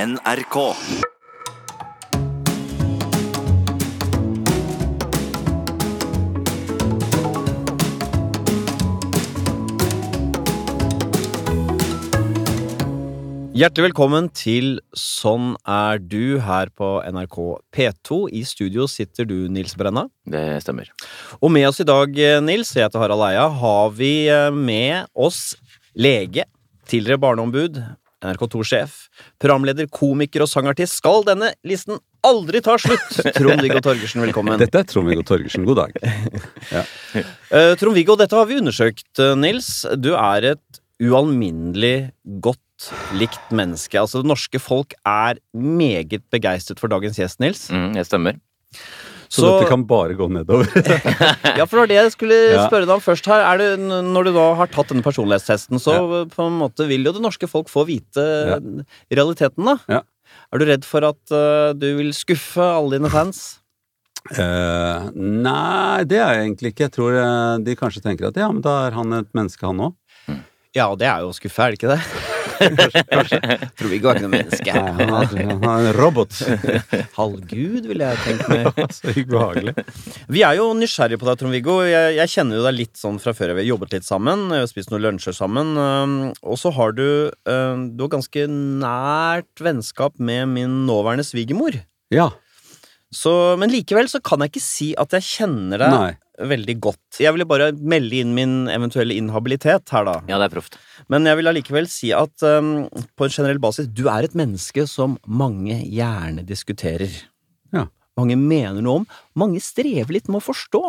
NRK. Hjertelig velkommen til Sånn er du her på NRK P2. I studio sitter du, Nils Brenna. Det stemmer. Og med oss i dag, eh, Nils, jeg heter Harald Eia, har vi eh, med oss lege, tidligere barneombud, NRK2-sjef, programleder, komiker og sangartist. Skal denne listen aldri ta slutt? Trond-Viggo Torgersen, velkommen. Dette er Trond-Viggo Torgersen. God dag. Eh, Trond-Viggo, dette har vi undersøkt, eh, Nils. Du er et ualminnelig godt likt menneske. Altså, det norske folk er meget begeistret for dagens gjest, Nils. Mm, jeg stemmer. Så, Så- dette kan bare gå nedover. Ja, for det var det jeg skulle Ja. spørre deg om først her. Er det, n- når du da har tatt denne personlighetstesten, så på en måte vil jo det norske folk få vite Ja. realiteten, da. Ja. Er du redd for at eh, du vil skuffe alle dine fans? Eh, nei, det er jeg egentlig ikke. Jeg tror eh, de kanskje tenker at ja, men da er han et menneske, han òg. Ja, og det er jo å skuffe, er det ikke det? kanskje, Tror vi ikke er ikke noe menneske. Han, er- han er en robot. Halvgud, ville jeg tenkt meg. Så ubehagelig. Vi er jo nysgjerrige på deg, Trond-Viggo. Jeg, jeg kjenner jo deg litt sånn fra før. Vi har jobbet litt sammen, vi har spist noen lunsjer sammen. øhm, Og så har du øhm, Du har ganske nært vennskap med min nåværende svigermor. Ja. Så, men likevel så kan jeg ikke si at jeg kjenner deg Nei. veldig godt. Jeg ville bare melde inn min eventuelle inhabilitet her, da. Ja, det er proft. Men jeg vil allikevel si at øhm, på en generell basis, du er et menneske som mange gjerne diskuterer. Ja. Mange mener noe om. Mange strever litt med å forstå.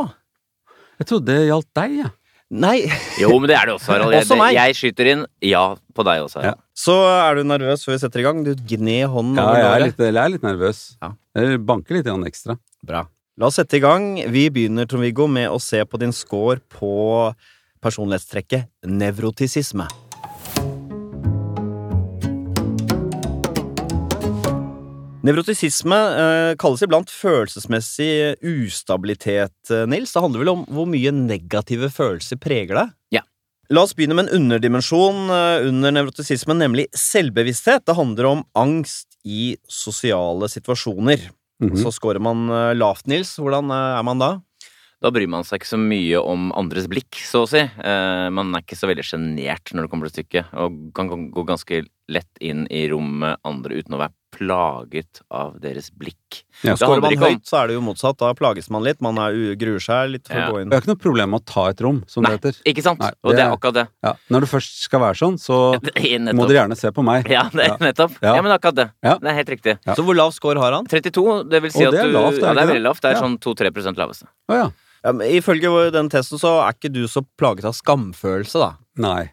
Jeg trodde det gjaldt deg, jeg. Nei, Jo, men det er det også, Harald. Jeg, Også meg. jeg skyter inn ja på deg også. Harald. Så er du nervøs før vi setter i gang. Du gned hånden Ja, over jeg, er låret. litt, eller jeg er litt nervøs. Ja. Jeg banker litt grann ekstra. Bra. La oss sette i gang. Vi begynner, Trond-Viggo, med å se på din score på personlighetstrekket nevrotisisme. Nevrotisisme eh, kalles iblant følelsesmessig ustabilitet, eh, Nils. Det handler vel om hvor mye negative følelser preger deg? Ja. La oss begynne med en underdimensjon eh, under nevrotisismen, nemlig selvbevissthet. Det handler om angst i sosiale situasjoner. Mm. Mhm. Så scorer man eh, lavt, Nils. Hvordan eh, er man da? Da bryr man seg ikke så mye om andres blikk, så å si. Eh, man er ikke så veldig sjenert når det kommer til stykket, og kan gå ganske lett inn i rom med andre uten å være plaget av deres blikk. Ja, Det handler Går man ikke om- høyt, så er det jo motsatt. Da plages man litt. Man er u gruer seg litt for Ja. å gå Jeg inn. har ikke noe problem med å ta et rom, som Nei, det heter. ikke sant? Nei, og det det er er- akkurat det. Ja. Når det først skal være sånn, så må Nettopp. dere gjerne se på meg. Ja, det, Ja. nettopp. Ja. Ja. men akkurat det. Ja. Det er helt riktig. Ja. Så hvor lav score har han? 32, det vil si Og at det er du lavt, Ja, det er ikke er det? veldig lavt. Det er Ja. sånn 2-3 laveste. Å ja. Ja, men ifølge vår- den testen så er ikke du så plaget av skamfølelse, da. Nei.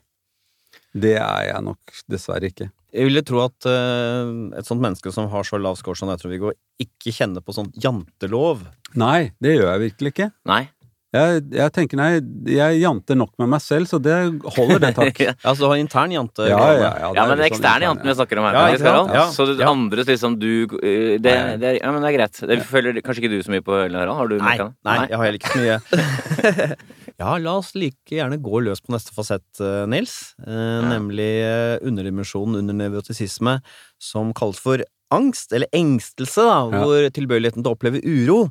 Det er jeg nok dessverre ikke. Jeg ville tro at eh, et sånt menneske som har så lav score som deg, Trond-Viggo, ikke kjenner på sånn jantelov. Nei, det gjør jeg virkelig ikke. Nei. Jeg, jeg tenker nei, jeg janter nok med meg selv, så det holder det, takk. ja, Ja, så du har intern jantelov. det Ja, er men litt det sånn eksterne intern, janten vi snakker om her, Ja, faktisk, ikke sant? Harald. Ja. Så det Ja. andres liksom du øh, det, Nei. det, Ja, men det er greit. Det føler kanskje ikke du så mye på Helen Harald? Har du Nei, merket det? nei, jeg har heller ikke så mye. ja, la oss like gjerne gå løs på neste fasett, eh, Nils. Eh, Nemlig eh, underdimensjonen under nevrotisisme, som kalles for angst, eller engstelse, da, Ja. hvor tilbøyeligheten til å oppleve uro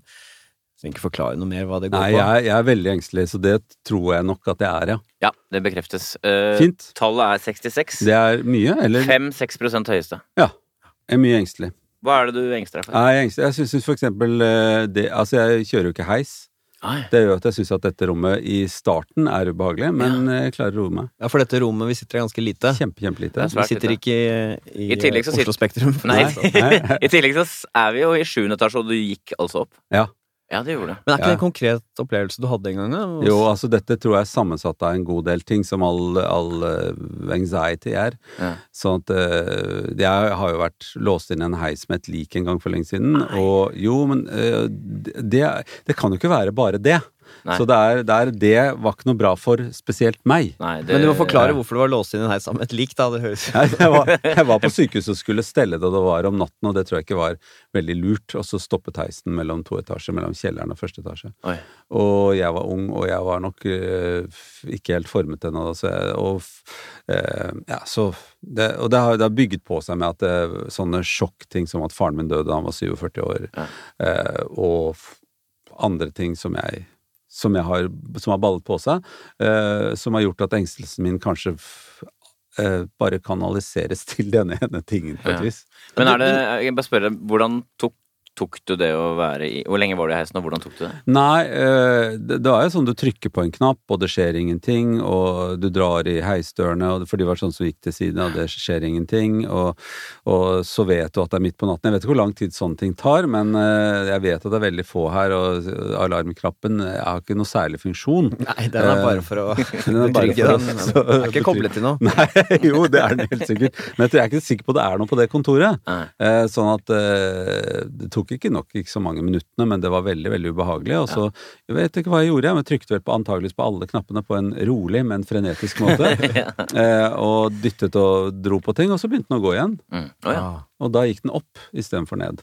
Så ikke forklare noe mer hva det går Nei, på. jeg, jeg er veldig engstelig, så det tror jeg nok at jeg er, ja. Ja, det bekreftes. Eh, Fint. Tallet er 66. Det er mye, eller? 5-6 prosent høyeste. Ja. Jeg er mye engstelig. Hva er det du engster deg for? Jeg, er engstelig. jeg syns for eksempel eh, det Altså, jeg kjører jo ikke heis. Ai. Det gjør at jeg syns at dette rommet i starten er ubehagelig, men eh, jeg klarer å roe meg. Ja, for dette rommet vi sitter i, er ganske lite. Kjempe, kjempelite. Det er Vi svært sitter lite. ikke i, i, I tillegg så Oslo sitter- Spektrum. Nei. Nei. I tillegg så s- er vi jo i sjuende etasje, og du gikk altså opp. Ja. Ja, det gjorde det. Men er ikke Ja. det en konkret opplevelse du hadde en gang? da? Jo, altså dette tror jeg er sammensatt av en god del ting, som all, all eh, anxiety er. Ja. Sånn at eh, Jeg har jo vært låst inn i en heis med et lik en gang for lenge siden. Og jo, men eh, det, det kan jo ikke være bare det. Nei. Så det er, det er Det var ikke noe bra for spesielt meg. Nei, det, Men du må forklare hvorfor du var låst inn i den her sammen med et lik, da. Det høres Nei, Jeg var, jeg var på sykehuset og skulle stelle det, og det var om natten, og det tror jeg ikke var veldig lurt. Og så stoppet heisen mellom to etasjer, mellom kjelleren og første etasje. Oi. Og jeg var ung, og jeg var nok øh, f- ikke helt formet ennå. Så jeg, og f- øh, ja, så det, og det har, det har bygget på seg med at det, sånne sjokkting som at faren min døde da han var 47 år, eh, og f- andre ting som jeg som, jeg har, som har ballet på seg, eh, som har gjort at engstelsen min kanskje f- eh, bare kanaliseres til denne ene tingen, på Ja. et vis. Men er det, jeg bare spør deg, hvordan tok, tok du det å være i Hvor lenge var du i heisen, og hvordan tok du det? Nei, eh, det, det er jo sånn du trykker på en knapp, og det skjer ingenting, og du drar i heisdørene, og, for de var sånn som gikk til siden, og det skjer ingenting, og, og så vet du at det er midt på natten. Jeg vet ikke hvor lang tid sånne ting tar, men eh, jeg vet at det er veldig få her, og alarmknappen eh, har ikke noe særlig funksjon. Nei, den er bare for å Eh, Den er bare betrygge for å- den. men så- Den er ikke koblet til noe. Nei, jo, det er den helt sikkert. Men jeg tror- jeg er ikke sikker på det er noe på det kontoret. Nei. Eh, Sånn at eh, det tok ikke nok ikke så mange minuttene, men det var veldig, veldig ubehagelig. Og så, jeg vet ikke hva jeg gjorde, jeg, men trykte vel på antageligvis på alle knappene på en rolig, men frenetisk måte. Eh, Og dyttet og dro på ting, og så begynte den å gå igjen. Mm. Å ja. Og da gikk den opp istedenfor ned.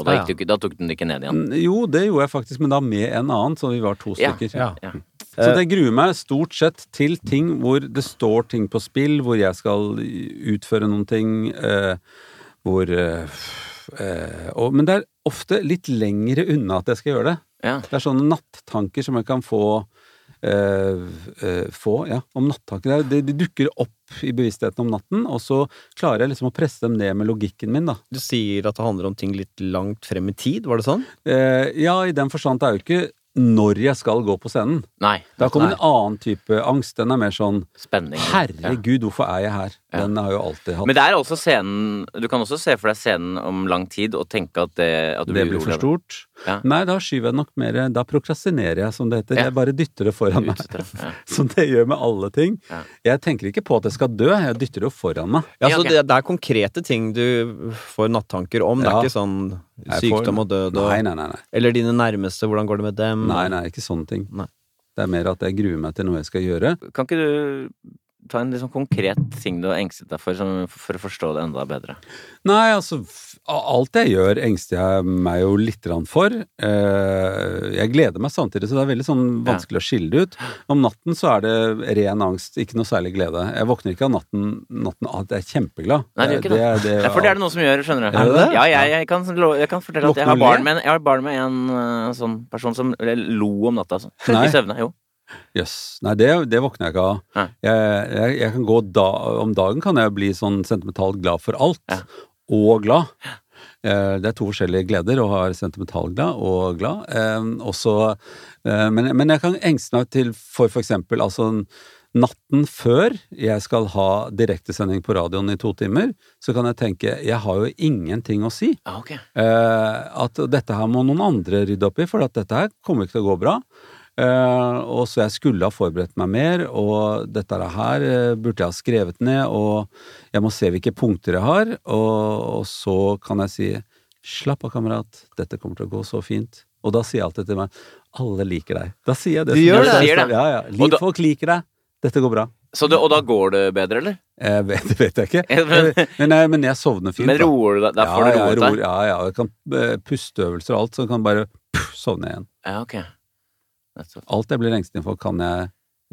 Og da, gikk du, ikke- da tok du den ikke ned igjen? Mm, Jo, det gjorde jeg faktisk, men da med en annen, så vi var to Ja. stykker. Eh, Ja. Ja. Så jeg gruer meg stort sett til ting hvor det står ting på spill, hvor jeg skal utføre noen ting, eh, hvor eh, eh, og, Men det er ofte litt lengre unna at jeg skal gjøre det. ja. Det er sånne nattanker som jeg kan få eh, eh, få, ja, om nattanker. Det er- De, de dukker opp i bevisstheten om natten, og så klarer jeg liksom å presse dem ned med logikken min, da. Du sier at det handler om ting litt langt frem i tid, var det sånn? Eh, ja, i den forstand, det er jo ikke når jeg skal gå på scenen. Nei. Da kommer en annen type angst. Den er mer sånn Spenning. Ja. Herregud, hvorfor er jeg her? Den har jeg jo alltid hatt. Men det er også scenen Du kan også se for deg scenen om lang tid og tenke at det at du det blir urolig for av stort. Ja. Nei, da skyver jeg nok mer Da prokrastinerer jeg, som det heter. Ja. Jeg bare dytter det foran meg. Utstø- ja. Som det gjør med alle ting. Ja. Jeg tenker ikke på at jeg skal dø, jeg dytter det jo foran meg. Ja, Ja, så ok. det, det er konkrete ting du får nattanker om. Det Ja. er ikke sånn Jeg får- sykdom og død og Nei, nei, nei. nei. Eller dine nærmeste, hvordan går det med dem? nei, nei ikke sånne ting. Nei. Det er mer at jeg gruer meg til noe jeg skal gjøre. Kan ikke du ta en litt sånn konkret ting du har engstet deg for, som, for å forstå det enda bedre? Nei, altså f- Alt jeg gjør, engster jeg meg jo litt grann for. Eh, Jeg gleder meg samtidig, så det er veldig sånn Ja. vanskelig å skille det ut. Om natten så er det ren angst, ikke noe særlig glede. Jeg våkner ikke av natten, natten av at jeg er kjempeglad. Nei, det gjør ikke det. er- det er- Ja, for det er det noen som gjør, skjønner du. Er det det? Ja, jeg, jeg, kan, lo- jeg kan fortelle at jeg har Våkner og barn ler? med en, jeg har barn med en øh, sånn person som lo om natta, altså. Nei. I søvne. Jo. Jøss. Nei, det, det våkner jeg ikke av. Nei. Jeg, jeg, jeg kan gå da, om dagen kan jeg bli sånn sentimentalt glad for alt, Ja. og glad. Eh, Det er to forskjellige gleder, å ha sentimentalt glad og glad. Eh, Også, eh, men, men jeg kan engste meg til for for eksempel altså, natten før jeg skal ha direktesending på radioen i to timer, så kan jeg tenke jeg har jo ingenting å si. Ja, ok. Eh, at dette her må noen andre rydde opp i, for at dette her kommer ikke til å gå bra. Eh, og så jeg skulle ha forberedt meg mer, og dette her eh, burde jeg ha skrevet ned, og jeg må se hvilke punkter jeg har, og, og så kan jeg si slapp av, kamerat, dette kommer til å gå så fint. Og da sier jeg alltid til meg alle liker deg. Da sier jeg det. Du som gjør jeg det? sa i Sier stad. det. Ja, ja. Og da- Lik, folk liker deg. Dette går bra. Så det, og da går det bedre, eller? Eh, vet, det vet jeg ikke. Ja, men- Eh, men, nei, men jeg sovner fint. Men da. roer du deg? Da får ja, du jeg roet ror, deg? ja, ja. Jeg kan eh, pusteøvelser og alt, så jeg kan bare puff, sovne igjen. Ja, ok. Nettopp. Alt jeg blir engstelig for, kan jeg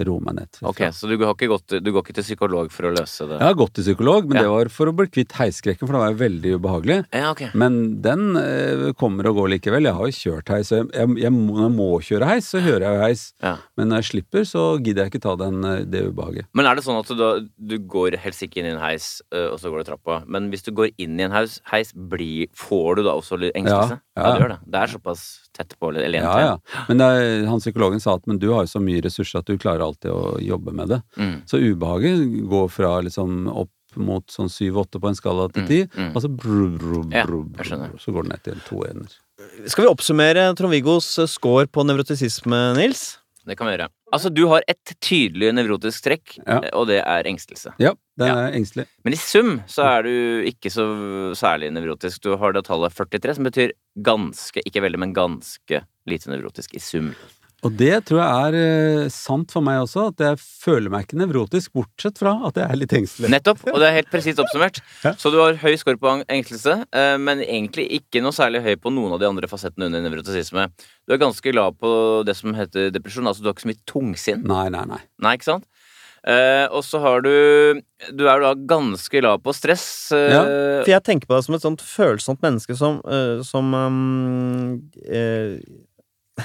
roe meg ned. Ok, så du, har ikke gått, du går ikke til psykolog for å løse det? Jeg har gått til psykolog, men Ja. det var for å bli kvitt heisskrekken, for det var jo veldig ubehagelig. Ja, ok. Men den eh, kommer og går likevel. Jeg har jo kjørt heis. og Jeg, jeg, jeg, må, når jeg må kjøre heis, så hører jeg jo heis. Ja. Men når jeg slipper, så gidder jeg ikke ta den, eh, det ubehaget. Men er det sånn at du, da, du går helst ikke inn i en heis, ø, og så går du trappa? Men hvis du går inn i en heis, heis blir, får du da også litt engstelse? Ja, Ja, ja. du gjør det. Det er såpass tett på, eller eller en Ja, til ja. Men det, er- han psykologen sa at men du har jo så mye ressurser at du klarer alltid å jobbe med det. Mm. Så ubehaget går fra liksom opp mot sånn syv-åtte på en skala til ti, mm. og så brr, brr, Ja, brr, jeg skjønner. brr, så går det ned til to ender. Skal vi oppsummere Trond-Viggos score på nevrotisisme, Nils? Det kan vi gjøre. Altså, du har et tydelig nevrotisk trekk, Ja. og det er engstelse. Ja, det er engstelig. Men i sum så er du ikke så særlig nevrotisk. Du har det tallet 43, som betyr ganske, ikke veldig, men ganske lite nevrotisk i sum. Og det tror jeg er eh, sant for meg også, at jeg føler meg ikke nevrotisk, bortsett fra at jeg er litt engstelig. Nettopp, og det er helt presist oppsummert. Ja. Så du har høy score på ang- engstelse, eh, men egentlig ikke noe særlig høy på noen av de andre fasettene under nevrotisisme. Du er ganske lav på det som heter depresjon, altså du har ikke så mye tungsinn. Nei, nei, nei. Nei, ikke sant? Eh, og så har du Du er da ganske lav på stress. eh, For jeg tenker på deg som et sånt følsomt menneske som, øh, som øhm, øh,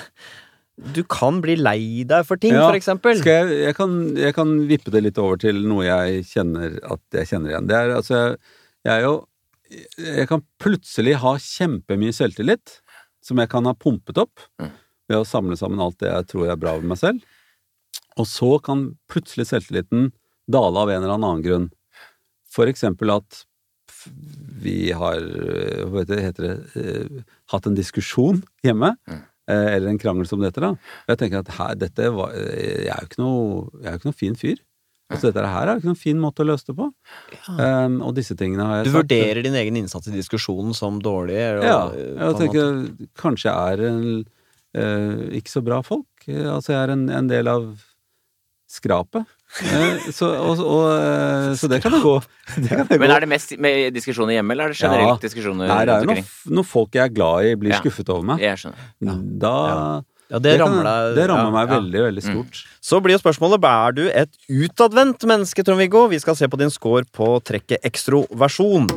Du kan bli lei deg for ting, Ja, for eksempel. Skal jeg, jeg, kan, jeg kan vippe det litt over til noe jeg kjenner at jeg kjenner igjen. Det er altså Jeg, jeg er jo Jeg kan plutselig ha kjempemye selvtillit som jeg kan ha pumpet opp Mm. ved å samle sammen alt det jeg tror er bra ved meg selv. Og så kan plutselig selvtilliten dale av en eller annen grunn. For eksempel at f- vi har øh, hva heter det, heter det øh, hatt en diskusjon hjemme, Mm. eh, eller en krangel som det heter, da. Og jeg tenker at her, dette var, eh, jeg er jo ikke noe, jeg er jo ikke noe fin fyr. Altså, dette her er jo ikke noen fin måte å løse det på. Ehm, og disse tingene har jeg Du sagt- vurderer din egen innsats i diskusjonen som dårlig. og- Ja. på en Jeg tenker kanskje jeg er en, eh, ikke så bra folk. Eh, Altså jeg er en, en del av skrapet. Eh, så, og, og, eh, så det kan det gå. Det kan det Men gå. er det mest med diskusjoner hjemme, eller er det generelt Ja. diskusjoner Nei, det rundt er jo noen omkring? f- noen folk jeg er glad i, blir Ja. skuffet over meg. Jeg skjønner. Da Ja, det, kan- rammer deg det rammer ja, meg ja. Mm. veldig, veldig stort. Så blir jo spørsmålet er du et utadvendt menneske, Trond-Viggo. Vi skal se på din score på trekket ekstroversjon.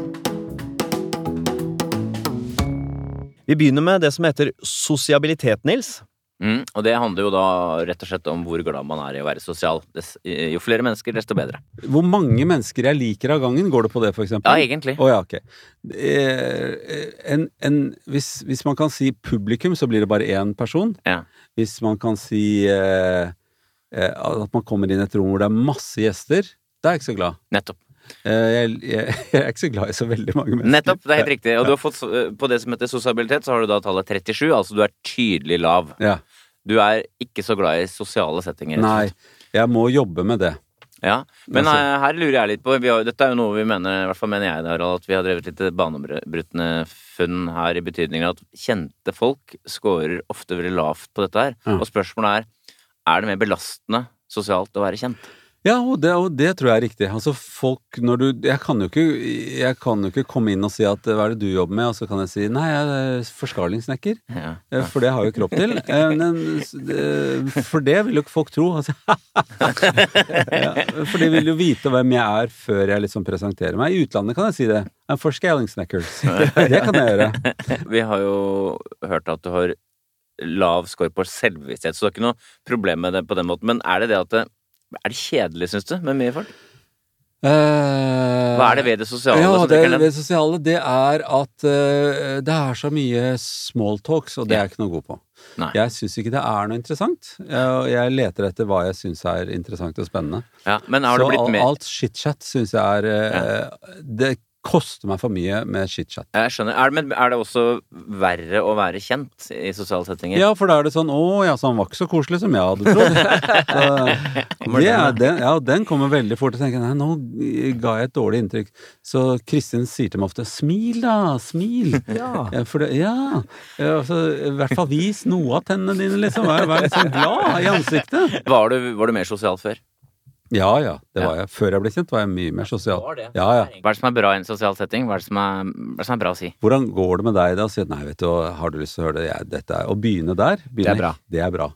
Vi begynner med det som heter sosiabilitet, Nils. Mm, og det handler jo da rett og slett om hvor glad man er i å være sosial. Des, jo flere mennesker, desto bedre. Hvor mange mennesker jeg liker av gangen, går det på det, for eksempel? Ja, egentlig. Å ja, ok. Eh, En, en, hvis, hvis man kan si publikum, så blir det bare én person. Ja. Hvis man kan si eh, eh, at man kommer inn i et rom hvor det er masse gjester, da er jeg ikke så glad. Nettopp. Eh, jeg, jeg, jeg er ikke så glad i så veldig mange mennesker. Nettopp, det er helt riktig. Og du har fått, eh, på det som heter sosialitet, så har du da tallet 37, altså du er tydelig lav. Ja. Du er ikke så glad i sosiale settinger. Nei, jeg må jobbe med det. Ja, Men Altså- eh, her lurer jeg litt på vi har, Dette er jo noe vi mener, i hvert fall mener jeg det, Harald, at vi har drevet litt banebrytende funn her, i betydningen at kjente folk scorer ofte veldig lavt på dette her. Ja. Og spørsmålet er er det mer belastende sosialt å være kjent. Ja, og det, og det tror jeg er riktig. Altså folk, når du, jeg, kan jo ikke, jeg kan jo ikke komme inn og si at eh, hva er det du jobber med, og så kan jeg si nei, jeg er forskarlingssnekker. Ja. Eh, For det har jeg jo kropp til. Eh, men, s- eh, For det vil jo ikke folk tro. Altså. Ja, For de vil jo vite hvem jeg er før jeg liksom presenterer meg. I utlandet kan jeg si det. I'm for scaling snackers. Det kan jeg gjøre. Vi har jo hørt at du har lav score på selvbevissthet, så det er ikke noe problem med det på den måten. Men er det det at det, Er det kjedelig, syns du, med mye folk? Hva er det ved det sosiale Eh, ja, som det, trekker den? ved sosiale, det er at eh, det er så mye smalltalks, og det er jeg ikke noe god på. Nei. Jeg syns ikke det er noe interessant. Jeg, jeg leter etter hva jeg syns er interessant og spennende. Ja, men har så det blitt al- mer alt chit-chat syns jeg er eh, Det koster meg for mye med chit-chat. Jeg skjønner. Er det, men er det også verre å være kjent i sosiale settinger? Ja, for da er det sånn 'Å ja, så han var ikke så koselig som jeg hadde trodd'. Så, det er, den, ja, den kommer veldig fort. Og tenker jeg, nei, nå ga jeg et dårlig inntrykk. Så Kristin sier til meg ofte 'smil, da', smil. Ja. Ja, For det, ja. ja altså, I hvert fall vis noe av tennene dine, liksom. Vær, vær litt sånn glad i ansiktet. Var, du, var du mer sosial før? Ja ja, det var jeg. Før jeg ble kjent, var jeg mye mer sosial. Var det? Ja, ja. Hva er det som er bra i en sosial setting? Hva er det som er, hva er, det som er bra å si? Hvordan går det med deg da? Sier jeg, nei, vet du, har du lyst til å høre det? Jeg, dette er, å begynne der, begynne, bra. Det er bra.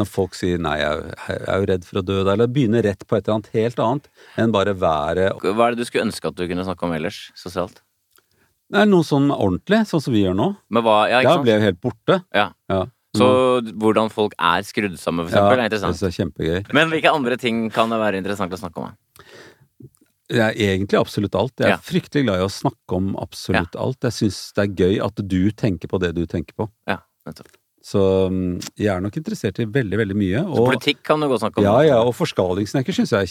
Når folk sier nei, jeg, jeg er jo redd for å dø der, eller begynne rett på et eller annet helt annet enn bare været. Hva er det du skulle ønske at du kunne snakke om ellers, sosialt? Det er noe sånn ordentlig, sånn som vi gjør nå. Men hva, ja, Da ikke sant? ble Mm. jeg helt borte. Ja. Ja. Så hvordan folk er skrudd sammen, for eksempel, er det interessant. er kjempegøy. Men hvilke andre ting kan det være interessant å snakke om? da? Det er egentlig absolutt alt. Jeg er Ja. fryktelig glad i å snakke om absolutt alt. Jeg syns det er gøy at du tenker på det du tenker på. Ja, nettopp. Så mm, jeg er nok interessert i veldig, veldig mye. Så Og, Altså, politikk kan du godt snakke om. ja, ja, og forskalingssnekker syns jeg er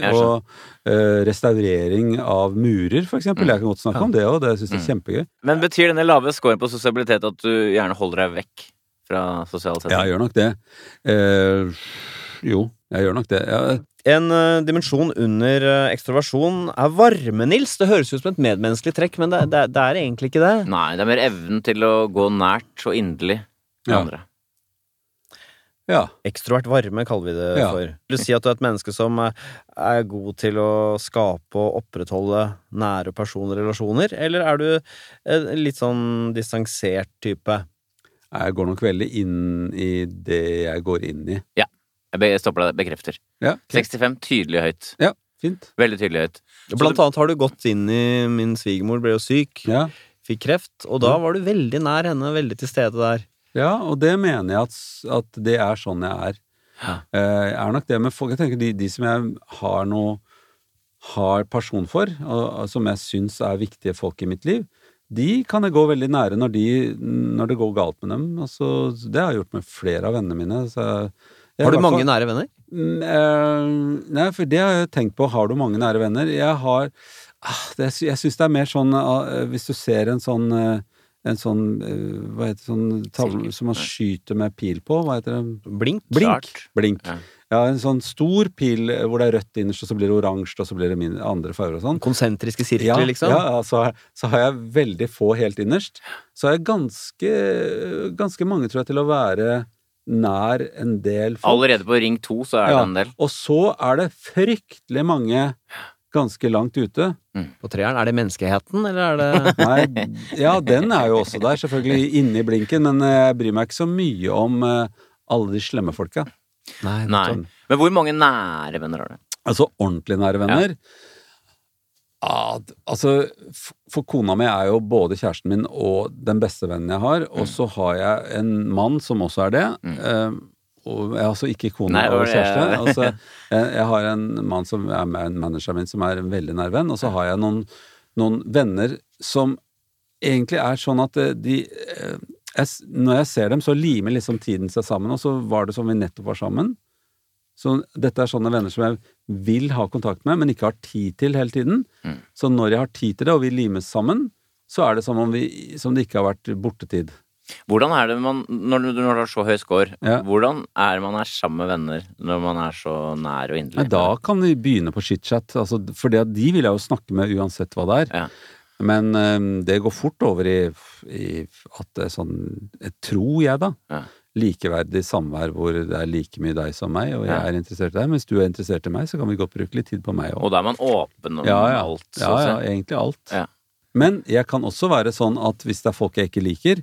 Ja, jeg skjønner. og eh, restaurering av murer, for Mm. eksempel. Jeg kan godt snakke om det òg. Det syns jeg er kjempegøy. Men betyr denne lave scoren på sosialitet at du gjerne holder deg vekk fra sosiale Ja, jeg settinger? gjør nok det. Eh, jo, jeg gjør nok det. Jeg, En ø, dimensjon under ø, ekstroversjon er varme, Nils. Det høres ut som et medmenneskelig trekk, men det, det, det er egentlig ikke det. Nei, det er mer evnen til å gå nært og inderlig med Ja. andre. Ja. Ekstrovert varme kaller vi det Ja. for. Vil du si at du er et menneske som eh, er god til å skape og opprettholde nære personlige relasjoner, eller er du en litt sånn distansert type? Jeg går nok veldig inn i det jeg går inn i. Jeg be- stopper deg. Bekrefter. Ja, ok. 65. Tydelig høyt. ja fint. Veldig tydelig høyt. Så Blant det- annet har du gått inn i Min svigermor ble jo syk, Ja. fikk kreft, og da var du veldig nær henne, veldig til stede der. ja, og det mener jeg at, s- at det er sånn jeg er. Ja. Eh, Jeg er nok det med folk Jeg tenker de, de som jeg har noe Har pasjon for, og, og som jeg syns er viktige folk i mitt liv, de kan jeg gå veldig nære når, de, når det går galt med dem. Altså, det har jeg gjort med flere av vennene mine. Så jeg, jeg Har i du hvert fall- mange nære venner? Mm, eh, Nei, for det har jeg tenkt på. Har du mange nære venner? Jeg har ah, det, sy- Jeg syns det er mer sånn ah, Hvis du ser en sånn eh, en sånn eh, hva heter det, sånn tavle Sirkel. som man Nei. skyter med pil på, hva heter det? Blink? Blink. Klart. Blink. Ja. Ja. en sånn stor pil eh, hvor det er rødt innerst, og så blir det oransje, og så blir det min- andre farger og sånn. Konsentriske Ja, sirkler, liksom? ja, ja, så, har- så har jeg veldig få helt innerst. Så har jeg ganske, ganske mange, tror jeg, til å være nær en del folk. Allerede på ring to så er det Ja. en del. Og så er det fryktelig mange ganske langt ute. På treeren? Er det menneskeheten, eller er det Nei, ja, den er jo også der, selvfølgelig inni blinken, men eh, jeg bryr meg ikke så mye om eh, alle de slemme folka. Nei. Nei. Sånn. Men hvor mange nære venner har du? Altså ordentlig nære venner. Ah, d- altså, f- for kona mi er jo både kjæresten min og den beste vennen jeg har, og så har jeg en mann som også er det. eh, og jeg er altså ikke kone Nei, og det kjæreste. var det- Altså, jeg, jeg har en mann som er ma- en manager min som er en veldig nær venn, og så har jeg noen, noen venner som egentlig er sånn at eh, de eh, jeg, s- Når jeg ser dem, så limer liksom tiden seg sammen, og så var det som vi nettopp var sammen. Så dette er sånne venner som jeg vil ha kontakt med, men ikke har tid til hele tiden. Mm. Så når jeg har tid til det, og vi limes sammen, så er det som om vi, som det ikke har vært bortetid. Hvordan er det man, når du når du har så høy score, Ja. hvordan er det man er sammen med venner når man er så nær og Nei, inderlig? da kan vi begynne på chit-chat, altså, for det, at de vil jeg jo snakke med uansett hva det er. Ja. Men eh, det går fort over i, i at det er sånn, jeg tror jeg da, Ja. likeverdig samvær hvor det er like mye deg som meg, og jeg Ja. er interessert i deg. Men hvis du er interessert i meg, så kan vi godt bruke litt tid på meg også. Og da er man åpen om ja, ja. alt. så Ja, å si. ja, egentlig alt. Ja. Men jeg kan også være sånn at hvis det er folk jeg ikke liker,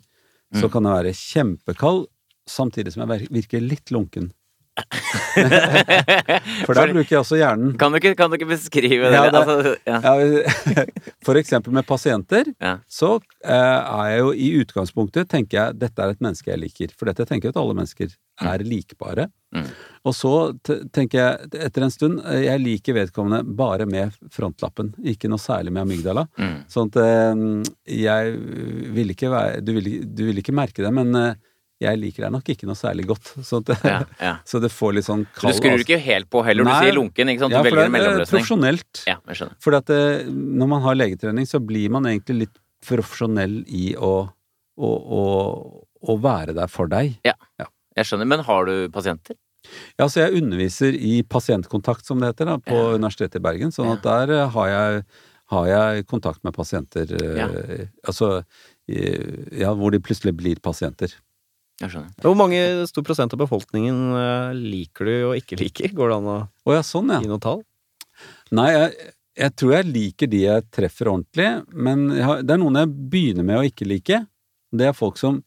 Mm. så kan jeg være kjempekald, samtidig som jeg vir- virker litt lunken. For der bruker jeg også hjernen. Kan, du ikke, kan du ikke beskrive det? Ja, det- Altså, ja. Ja, For eksempel med pasienter, Ja. så eh, er jeg jo i utgangspunktet tenker jeg dette er et menneske jeg liker. For dette tenker jeg at alle mennesker er likbare. Mm. Og så t- tenker jeg etter en stund eh, jeg liker vedkommende bare med frontlappen, ikke noe særlig med amygdala. Mm. Sånn at eh, jeg vil ikke være Du vil, du vil ikke merke det, men eh, jeg liker deg nok ikke noe særlig godt. Sånn at, Ja, ja. Så det får litt sånn Du kald skrur ikke helt på heller, du Nei. sier lunken, ikke sant? Du Ja, for velger en det er eh, mellomløsning. profesjonelt. Ja, jeg skjønner. Fordi at eh, når man har legetrening, så blir man egentlig litt profesjonell i å, å, å, å være der for deg. Jeg skjønner, Men har du pasienter? Ja, så jeg underviser i pasientkontakt, som det heter, da, på Ja. Universitetet i Bergen. Sånn at der eh, har jeg, har jeg kontakt med pasienter eh, Altså eh, Ja, hvor de plutselig blir pasienter. Jeg skjønner. Hvor mange stor prosent av befolkningen eh, liker du og ikke liker? Går det an å Å ja, sånn, ja. gi noe tall? Nei, jeg, jeg tror jeg liker de jeg treffer ordentlig, men jeg har, det er noen jeg begynner med å ikke like. Det er folk som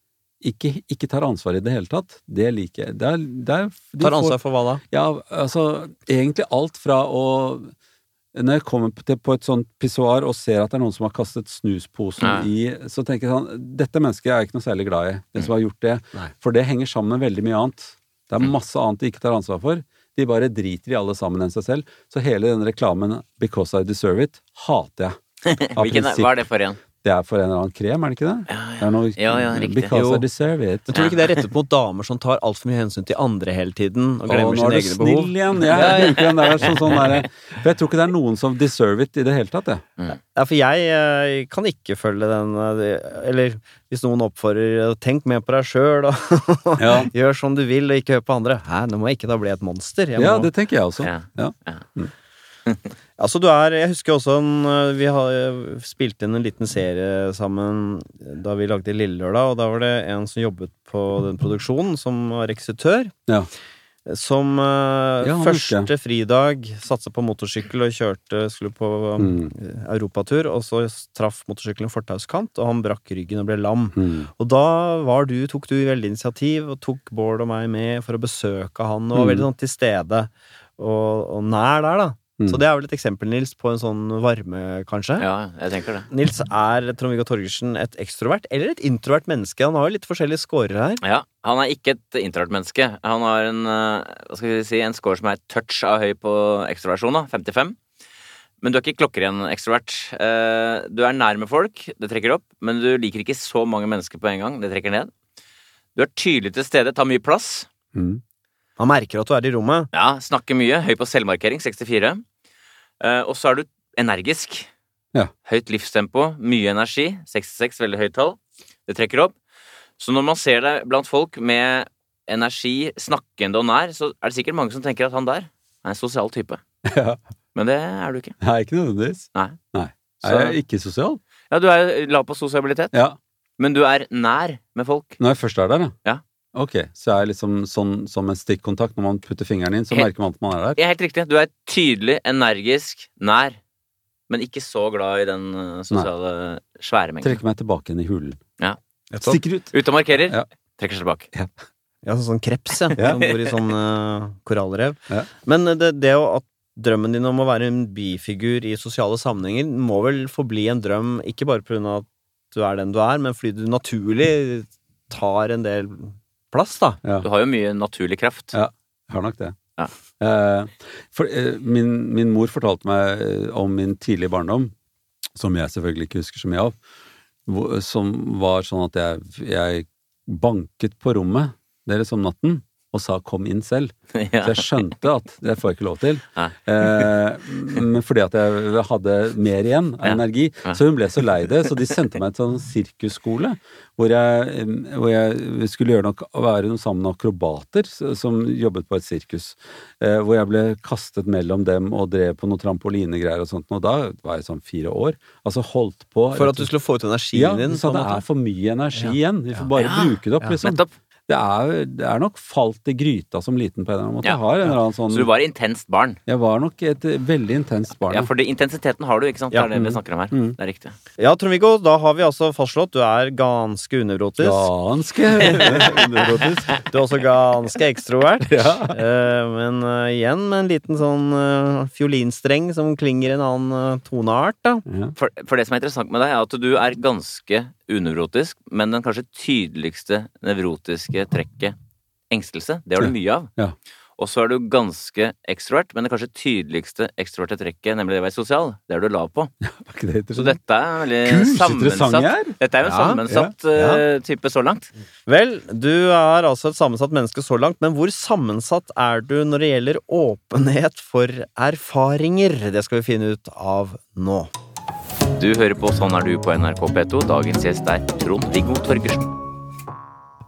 ikke, ikke tar ansvar i det hele tatt. Det liker jeg. Det er, det er, de Tar får- ansvar for hva da? Ja, altså egentlig alt fra å Når jeg kommer til, på et sånt pissoar og ser at det er noen som har kastet snusposen Ja. i, så tenker jeg sånn Dette mennesket er jeg ikke noe særlig glad i, den Mm. som har gjort det. Nei. For det henger sammen med veldig mye annet. Det er masse annet de ikke tar ansvar for. De bare driter i alle sammen enn seg selv. Så hele den reklamen 'Because I Deserve It' hater jeg. Av Hvilken, er- prinsipp. hva er det for en? Det er for en eller annen krem, er det ikke det? Ja, ja. Det er noe, Ja, ja, riktig. Because Jo. I deserve it. Men tror du ikke det er rettet mot damer som tar altfor mye hensyn til andre hele tiden? Og Å, glemmer nå er sine du egne snill behov? igjen. Jeg bruker den der som sånn derre For jeg tror ikke det er noen som deserve it i det hele tatt, jeg. Ja, for jeg eh, kan ikke følge den eh, det- Eller hvis noen oppfordrer eh, Tenk mer på deg sjøl, og Ja. gjør som du vil, og ikke hør på andre. Hæ, nå må jeg ikke da bli et monster. Jeg Ja, må- det tenker jeg også. Ja. Ja. Ja. Altså, du er Jeg husker også en øh, Vi har, øh, spilte inn en liten serie sammen da vi lagde Lille Lørdag, og da var det en som jobbet på den produksjonen, som var regissør. Ja. Som øh, Ja, han husker første fridag satsa på motorsykkel og kjørte skulle på øh, Mm. europatur, og så traff motorsykkelen en fortauskant, og han brakk ryggen og ble lam. Mm. Og da var du, tok du veldig initiativ og tok Bård og meg med for å besøke han, og var Mm. veldig sånn til stede og, og nær der, da. Mm. Så det er vel et eksempel, Nils, på en sånn varme, kanskje. Ja, jeg tenker det. Nils er Trond-Viggo Torgersen et ekstrovert eller et introvert menneske? Han har jo litt forskjellige scorer her. Ja, Han er ikke et introvert menneske. Han har en, eh, hva skal vi si, en score som er et touch av høy på ekstroversjon, da, 55. Men du er ikke klokkeren ekstrovert. Eh, Du er nær med folk, det trekker opp, men du liker ikke så mange mennesker på en gang, det trekker ned. Du er tydelig til stede, tar mye plass. Mm. Han merker at du er i rommet. Ja, snakker mye, høy på selvmarkering, 64. Eh, Og så er du energisk. Ja. Høyt livstempo, mye energi, 66, veldig høyt tall. Det trekker opp. Så når man ser deg blant folk med energi, snakkende og nær, så er det sikkert mange som tenker at han der er en sosial type. Ja. Men det er du ikke. Nei, ikke nødvendigvis. Nei. Nei. Så- Er jeg ikke sosial? Ja, du er lav på sosialitet, Ja. men du er nær med folk. Når jeg først er der, Ja. Ok, så jeg er liksom sånn som en stikkontakt. Når man putter fingeren inn, så Helt- merker man at man er der. Ja, helt riktig. Du er tydelig, energisk, nær. Men ikke så glad i den eh, sosiale svære mengden. Trekker meg tilbake igjen i hulen. Stikk- Stikker ut. Ut og markerer. Ja. Trekker seg tilbake. Ja, sånn, sånn kreps, ja. Ja. Som bor i sånn eh, korallrev. Ja. Men eh, det, det å, at drømmen din om å være en bifigur i sosiale sammenhenger må vel forbli en drøm, ikke bare på grunn av at du er den du er, men fordi du naturlig tar en del plass, da. Du har jo mye naturlig kraft. Ja. Jeg Har nok det. Ja. Eh, for, eh, min, min mor fortalte meg eh, om min tidlige barndom, som jeg selvfølgelig ikke husker så mye av, hvor, som var sånn at jeg, jeg banket på rommet deres om natten og sa 'kom inn selv'. Ja. Så jeg skjønte at det får jeg ikke lov til. Nei. Eh, men fordi at jeg hadde mer igjen av Ja. energi. Ja. Så hun ble så lei det, så de sendte meg til en sånn sirkusskole hvor jeg, hvor jeg skulle gjøre nok, være noe sammen med akrobater s- som jobbet på et sirkus. Eh, hvor jeg ble kastet mellom dem og drev på noe trampolinegreier og sånt. Og da var jeg sånn fire år. Altså holdt på For at du skulle få ut energien ja, din. så på en det måte. er for mye energi igjen. Vi får bare Ja. bruke det opp, Ja. liksom. Nettopp. Det er, det er nok falt i gryta som liten på en eller annen måte. Ja. Jeg har en eller annen sånn Så du var intenst barn. jeg var nok et eh, veldig intenst barn. Ja, Ja, for det, intensiteten har du, ikke sant? Ja. Det er det vi snakker om her. Mm. Det er riktig. Ja, Trond-Viggo, da har vi altså fastslått du er ganske unevrotisk. Ganske underbrotisk. Du er også ganske ekstrovert. Ja. Eh, men eh, igjen med en liten sånn eh, fiolinstreng som klinger en annen eh, toneart, da. Ja. For, for det som er interessant med deg, er at du er ganske unevrotisk, men den kanskje tydeligste nevrotiske trekket, engstelse, det har du mye av. Ja. Og så er du ganske ekstrovert, men det kanskje tydeligste ekstroverte trekket, nemlig det å være sosial, det er du lav på. Var ikke det Så interessant? dette er veldig Kurs, interessant sammensatt. her! Dette er jo en Ja, sammensatt ja, ja. eh, type så langt. Vel, du er altså et sammensatt menneske så langt, men hvor sammensatt er du når det gjelder åpenhet for erfaringer? Det skal vi finne ut av nå. Du hører på Sånn er du på NRK P2. Dagens gjest er Trond-Viggo Torgersen.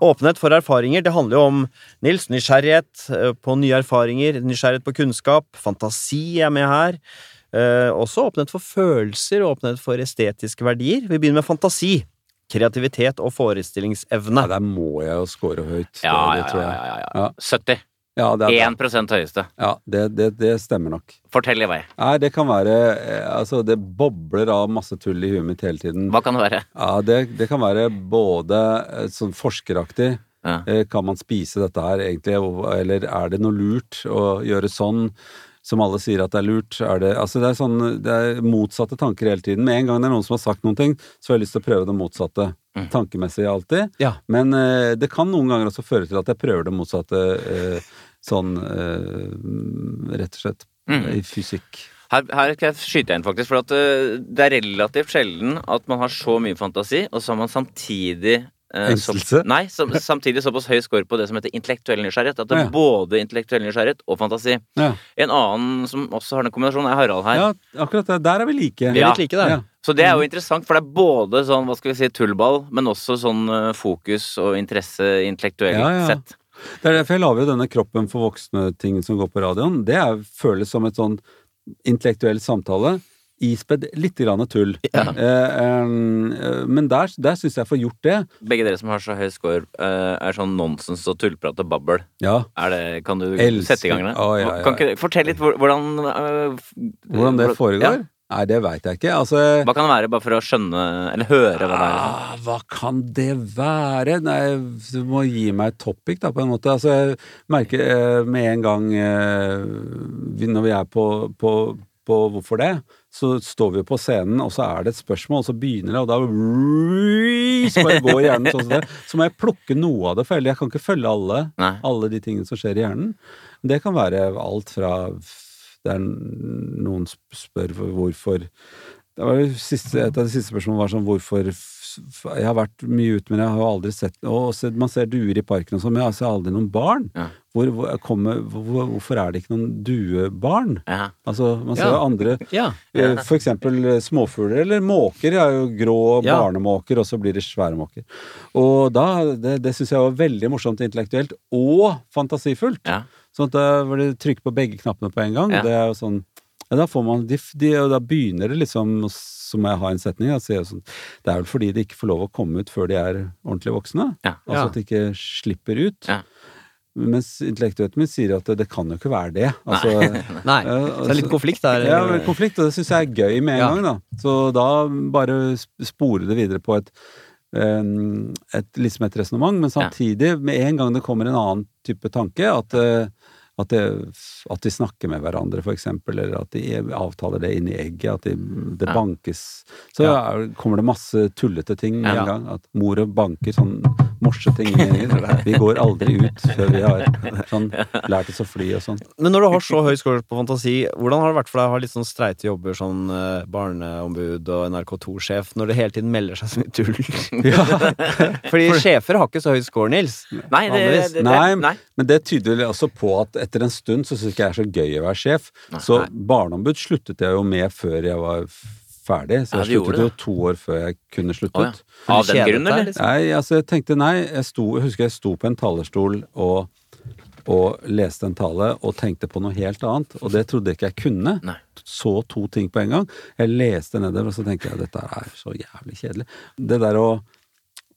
Åpenhet for erfaringer, det handler jo om Nils, nysgjerrighet eh, på nye erfaringer, nysgjerrighet på kunnskap, fantasi er med her. Eh, også åpenhet for følelser og åpenhet for estetiske verdier. Vi begynner med fantasi, kreativitet og Nei, forestillingsevne. der må jeg jo score høyt. Ja, det, ja, det tror ja, jeg. ja, ja. Ja. 70. Ja, det, er, 1 høyeste. ja det, det, det stemmer nok. Fortell i vei. Nei, det kan være eh, Altså, det bobler av masse tull i huet mitt hele tiden. Hva kan det være? Ja, det, det kan være både eh, sånn forskeraktig Ja. Eh, Kan man spise dette her egentlig, og- eller er det noe lurt å gjøre sånn? Som alle sier at det er lurt. Er det, altså det, er sånn, det er motsatte tanker hele tiden. Med en gang det er noen som har sagt noen ting, så har jeg lyst til å prøve det motsatte. Tankemessig alltid. Ja. Men eh, det kan noen ganger også føre til at jeg prøver det motsatte eh, sånn eh, rett og slett i fysikk. Her, her skal jeg skyte inn, faktisk. For at eh, det er relativt sjelden at man har så mye fantasi, og så har man samtidig eh, Engstelse? Så, nei, som, samtidig såpass høy score på det som heter intellektuell nysgjerrighet. At det er Ja. både intellektuell nysgjerrighet og fantasi. Ja, En annen som også har den kombinasjonen, er Harald her. ja akkurat det. Der er vi like. Vi er Ja. litt like der. Ja. Så det er jo interessant, for det er både sånn, hva skal vi si, tullball, men også sånn eh, fokus og interesse intellektuelt Ja, ja. sett. Det er derfor jeg lager jo denne Kroppen for voksne-tingen som går på radioen. Det er, føles som et sånn intellektuell samtale. Ispedd litt grann tull. Ja. Eh, eh, men der, der syns jeg får gjort det. Begge dere som har så høy score, eh, er sånn nonsens og tullprat og babbel. Ja. Er det, kan du Elsker. sette i gang det? Å, ja, ja. Kan ikke, fortell litt hvor- hvordan øh, f- Hvordan det Ja. foregår? Nei, det veit jeg ikke. Altså Hva kan det være, bare for å skjønne eller høre hva det er? Ah, hva kan det være? Nei, du må gi meg et topic, da, på en måte. Altså, jeg merker eh, med en gang eh, vi- Når vi er på, på, på Hvorfor det? Så står vi jo på scenen, og så er det et spørsmål, og så begynner det, og da så bare går hjernen sånn som det. Så må jeg plukke noe av det, for jeg kan ikke følge alle, Nei. alle de tingene som skjer i hjernen. Det kan være alt fra det er Noen sp- spør hvorfor det var jo siste, et av de siste spørsmålene var sånn hvorfor f- f- Jeg har vært mye ute, men jeg har jo aldri sett og så- Man ser duer i parken og sånn, men jeg ser aldri noen barn. Ja. Hvor, hvor, kommer, hvor, hvorfor er det ikke noen duebarn? Ja. Altså, man ser Ja. jo andre Ja. eh, For eksempel eh, småfugler eller måker. Jeg har jo grå Ja. barnemåker, og så blir det svære måker. Og da, det, det syns jeg var veldig morsomt intellektuelt og fantasifullt. Ja. Sånn at da var det trykk på begge knappene på en gang. Ja. Det er jo sånn ja, da, får man, de, de, og da begynner det liksom og Så må jeg ha en setning. Da, sier jeg sånn, det er vel fordi de ikke får lov å komme ut før de er ordentlig voksne. Ja. Altså Ja. at de ikke slipper ut. Ja. Mens intellektuelt mitt sier at det, det kan jo ikke være det. Altså, Nei. Så Ja, det er altså- litt konflikt der. ja, men konflikt, og det syns jeg er gøy med en Ja. gang, da. Så da bare sp- spore det videre på et, um, et liksom et resonnement, men samtidig, med en gang det kommer en annen type tanke, at eh, at, det, at de snakker med hverandre, for eksempel, eller at de avtaler det inn i egget, at de, det Ja. bankes Så er, kommer det masse tullete ting med Ja. en gang. At mora banker sånn morseting inn i egget. Vi går aldri ut før vi har sånn, lært oss å fly og sånn. Men når du har så høy score på fantasi, hvordan har det vært for deg å ha litt sånn streite jobber som eh, barneombud og NRK2-sjef, når det hele tiden melder seg så mye tull? Fordi sjefer har ikke så høy score, Nils. Nei, det, Vanligvis. det, det, Nei, nei. men det tyder vel også på at etter en stund så syns jeg ikke jeg er så gøy å være sjef. Så barneombud sluttet jeg jo med før jeg var f- ferdig. Ja, Så jeg du gjorde sluttet jo to år før jeg kunne sluttet. Å, ja. Av den Kjedet grunn, deg, eller? liksom? Nei, altså jeg tenkte nei. Jeg, sto, jeg husker jeg sto på en talerstol og, og leste en tale og tenkte på noe helt annet. Og det trodde jeg ikke jeg kunne. Nei. Så to ting på en gang. Jeg leste nedover, og så tenkte jeg dette er så jævlig kjedelig. Det der å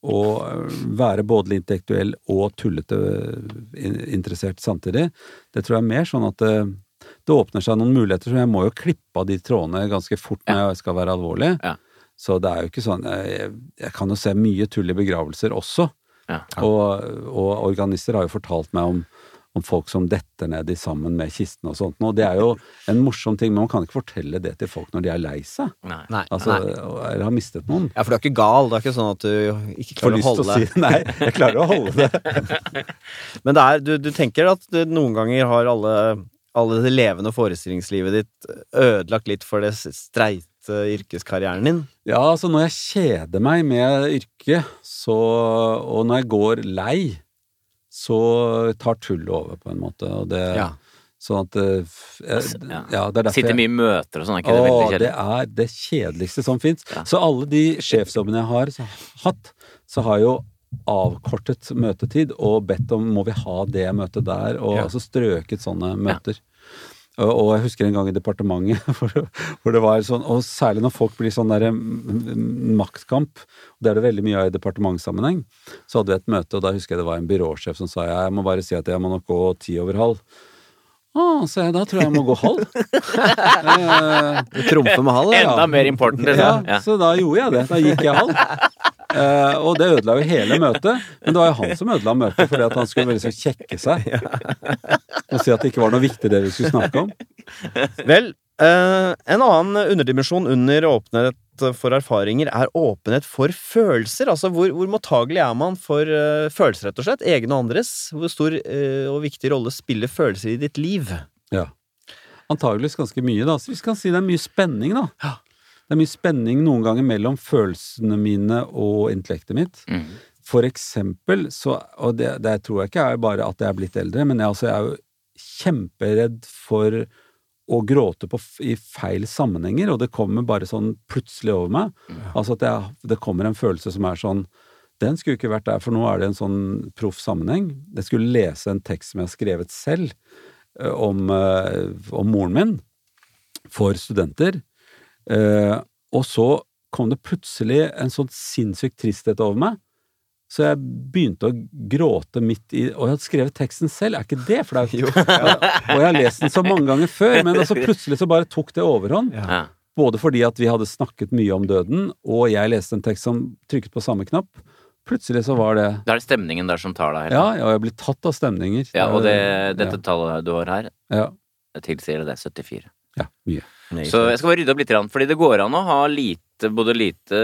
å være både intellektuell og tullete in- interessert samtidig, det tror jeg er mer sånn at det, det åpner seg noen muligheter, så jeg må jo klippe av de trådene ganske fort når jeg skal være alvorlig. Ja. Så det er jo ikke sånn Jeg, jeg kan jo se mye tull i begravelser også. Ja. Og, og organister har jo fortalt meg om, om folk som detter ned i sammen med kistene og sånt. Og det er jo en morsom ting, men man kan ikke fortelle det til folk når de er lei seg. Nei. Nei. Altså, Nei. og- eller har mistet noen. Ja, for du er ikke gal. Det er ikke sånn at du ikke klarer Får å lyst til holde å si deg. Nei, jeg klarer å holde det. Men det er, du, du tenker at du, noen ganger har alle, alle det levende forestillingslivet ditt ødelagt litt for det s- streite yrkeskarrieren din? Ja, altså når jeg kjeder meg med yrket, så Og når jeg går lei, så tar tullet over, på en måte. Og det Ja. Altså, Sånn at eh, f- jeg, Ja. Ja, det er derfor Sitter jeg- mye i møter og sånn, er ikke det veldig Åh, det kjedelig? er det kjedeligste som fins. Ja. Så alle de sjefsjobbene jeg har så, hatt, så har jeg jo avkortet møtetid og bedt om må vi ha det møtet der, og Ja. altså strøket sånne møter. Og, og jeg husker en gang i departementet hvor, hvor det var sånn, og særlig når folk blir sånn derre mm, maktkamp, og det er det veldig mye av i departementssammenheng, så hadde vi et møte, og da husker jeg det var en byråsjef som sa jeg må bare si at jeg må nok gå ti over halv. Å, sa jeg, da tror jeg jeg må gå halv. eh, Du trumfer med halv, eller? Ja. Enda mer important, ja, liksom. Ja. så da gjorde jeg det. Da gikk jeg halv. Eh, og det ødela jo hele møtet. Men det var jo han som ødela møtet, fordi at han skulle liksom kjekke seg. Og si at det ikke var noe viktig det vi skulle snakke om. Vel, eh, en annen underdimensjon under åpenhet for erfaringer er åpenhet for følelser. Altså hvor, hvor mottagelig er man for eh, følelser, rett og slett? Egne og andres. Hvor stor eh, og viktig rolle spiller følelser i ditt liv? Ja. Antageligvis ganske mye, da. Så vi kan si det er mye spenning, da. Det er mye spenning noen ganger mellom følelsene mine og intellektet mitt. Mm. For eksempel så Og det, det tror jeg ikke er bare at jeg er blitt eldre, men jeg, altså, jeg er jo kjemperedd for å gråte på, f- i feil sammenhenger, og det kommer bare sånn plutselig over meg. Altså at jeg, det kommer en følelse som er sånn Den skulle ikke vært der, for nå er det en sånn proff sammenheng. Jeg skulle lese en tekst som jeg har skrevet selv eh, om, eh, om moren min. for studenter. Eh, og så kom det plutselig en sånn sinnssyk tristhet over meg, så jeg begynte å gråte midt i Og jeg hadde skrevet teksten selv, er ikke det flaut? og jeg har lest den så mange ganger før, men altså plutselig så bare tok det overhånd. Ja. Både fordi at vi hadde snakket mye om døden, og jeg leste en tekst som trykket på samme knapp. Plutselig så var det Da er det stemningen der som tar deg. helt. Ja, ja, jeg blir tatt av stemninger. Eh, Ja, og det, dette tallet du har her, Ja, ja, tilsier det. 74. ja, mye. Så jeg skal bare rydde opp litt, grann, fordi det går an å ha lite, både lite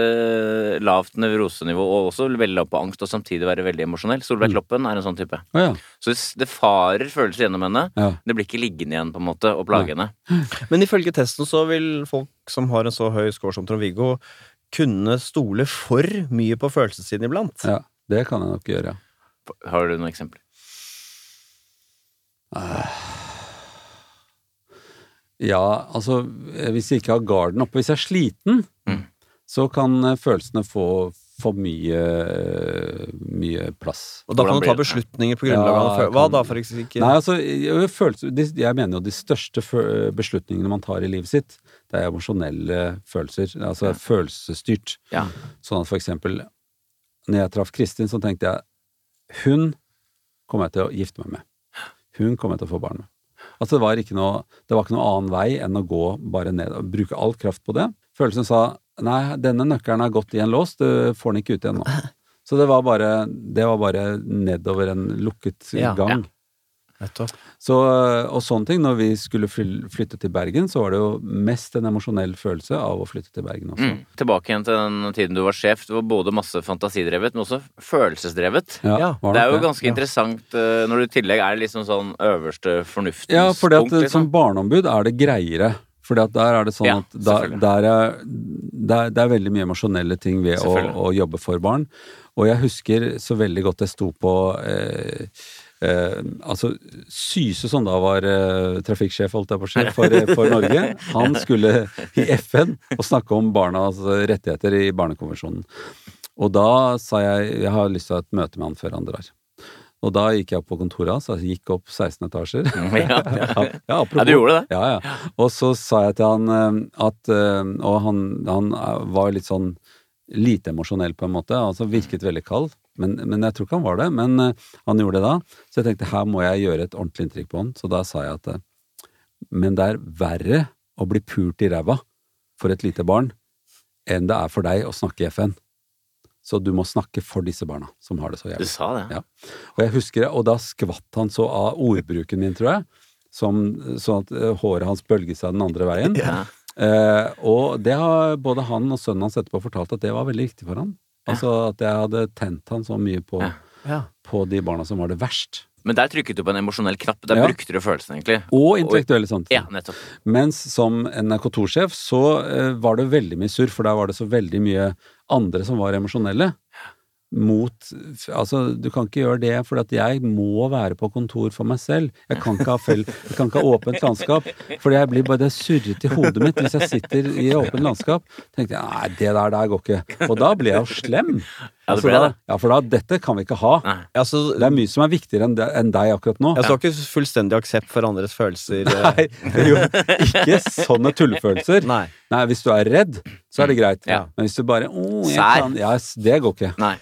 lavt nevrosenivå og også veldig lav på angst, og samtidig være veldig emosjonell. Solveig Mm. Kloppen er en sånn type. Å ja. Så det- det farer følelser gjennom henne. ja. Det blir ikke liggende igjen, på en måte, og plage henne. Men ifølge testen så vil folk som har en så høy score som Trond-Viggo, kunne stole for mye på følelsessiden iblant. Ja, det kan jeg nok gjøre, ja. Har du noen eksempler? Ja, altså, hvis jeg ikke har garden oppe, hvis jeg er sliten, Mm. så kan eh, følelsene få for mye, eh, mye plass. Og da kan Hvordan du ta blir det? beslutninger på grunnlag av Ja, følelser. Hva kan- da, for eksempel? Nei, altså, jeg, følelse, de, jeg mener jo de største fø- beslutningene man tar i livet sitt, det er emosjonelle følelser, altså følelsesstyrt. Ja. Sånn at for eksempel, når jeg traff Kristin, så tenkte jeg hun kommer jeg til å gifte meg med. Hun kommer jeg til å få barn med. Altså, det var ikke noe, det var ikke noe annen vei enn å gå bare ned og bruke all kraft på det. Følelsen sa nei, denne nøkkelen har gått i en lås, du får den ikke ut igjen nå. Så det var bare, det var bare nedover en lukket Ja, gang. ja. Nettopp. Så, og sånne ting, når vi skulle fly- flytte til Bergen, så var det jo mest en emosjonell følelse av å flytte til Bergen også. Mm. Tilbake igjen til den tiden du var sjef. Du var både masse fantasidrevet, men også følelsesdrevet. Ja, var Det er jo nok ganske Ja. interessant eh, når du i tillegg er liksom sånn øverste fornuftens Ja, for punkt, som liksom. barneombud er det greiere. For der er det sånn Ja, at der, selvfølgelig. der er, der, det er veldig mye emosjonelle ting ved å, Selvfølgelig. å jobbe for barn. Og jeg husker så veldig godt jeg sto på eh, eh, Altså Syse, som da var eh, trafikksjef, holdt jeg på å si, for, eh, for Norge, han skulle i FN og snakke om barnas rettigheter i Barnekonvensjonen. Og da sa jeg jeg har lyst til å ha et møte med han før han drar. Og da gikk jeg opp på kontoret hans, altså gikk opp 16 etasjer. Ja. Ja, ja, apropos. Ja, du gjorde det. Ja, ja. Og så sa jeg til han eh, at eh, Og han, han eh, var litt sånn lite emosjonell, på en måte. Altså virket veldig kald. Men, men jeg tror ikke han var det. Men eh, han gjorde det da. Så jeg tenkte her må jeg gjøre et ordentlig inntrykk på han. Så da sa jeg at eh, Men det er verre å bli pult i ræva for et lite barn enn det er for deg å snakke i FN. Så du må snakke for disse barna som har det så Du jævlig. sa det. Ja. Og jeg husker det, og da skvatt han så av ordbruken min, tror jeg. Som, sånn at eh, håret hans bølget seg den andre veien. Ja. Eh, og det har både han og sønnen hans etterpå fortalt at det var veldig viktig for han. Altså at jeg hadde tent han så mye på, Ja. Ja. på de barna som var det verst. Men der trykket du på en emosjonell knapp. Der Ja. brukte du følelsen, egentlig. Og intellektuelle samtidig. Ja, nettopp. Mens som NRK2-sjef så eh, var det veldig mye surr, for der var det så veldig mye andre som var emosjonelle. Mot Altså, du kan ikke gjøre det, for at jeg må være på kontor for meg selv. Jeg kan ikke ha, fel, jeg kan ikke ha åpent landskap. For jeg blir bare det surret i hodet mitt hvis jeg sitter i åpent landskap. tenkte jeg nei, det der, der går ikke. Og da ble jeg jo slem. Ja, du Altså, ble da, det. ja, for da Dette kan vi ikke ha. Nei. Ja, så, Det er mye som er viktigere enn de- enn deg akkurat nå. Altså, jeg så ikke fullstendig aksept for andres følelser. eh, Nei, jo, ikke sånne tullefølelser. Nei. Nei, hvis du er redd, så er det greit. Mm. Ja. Men hvis du bare oh, jeg Sær. kan, ja, s- Det går ikke. Nei.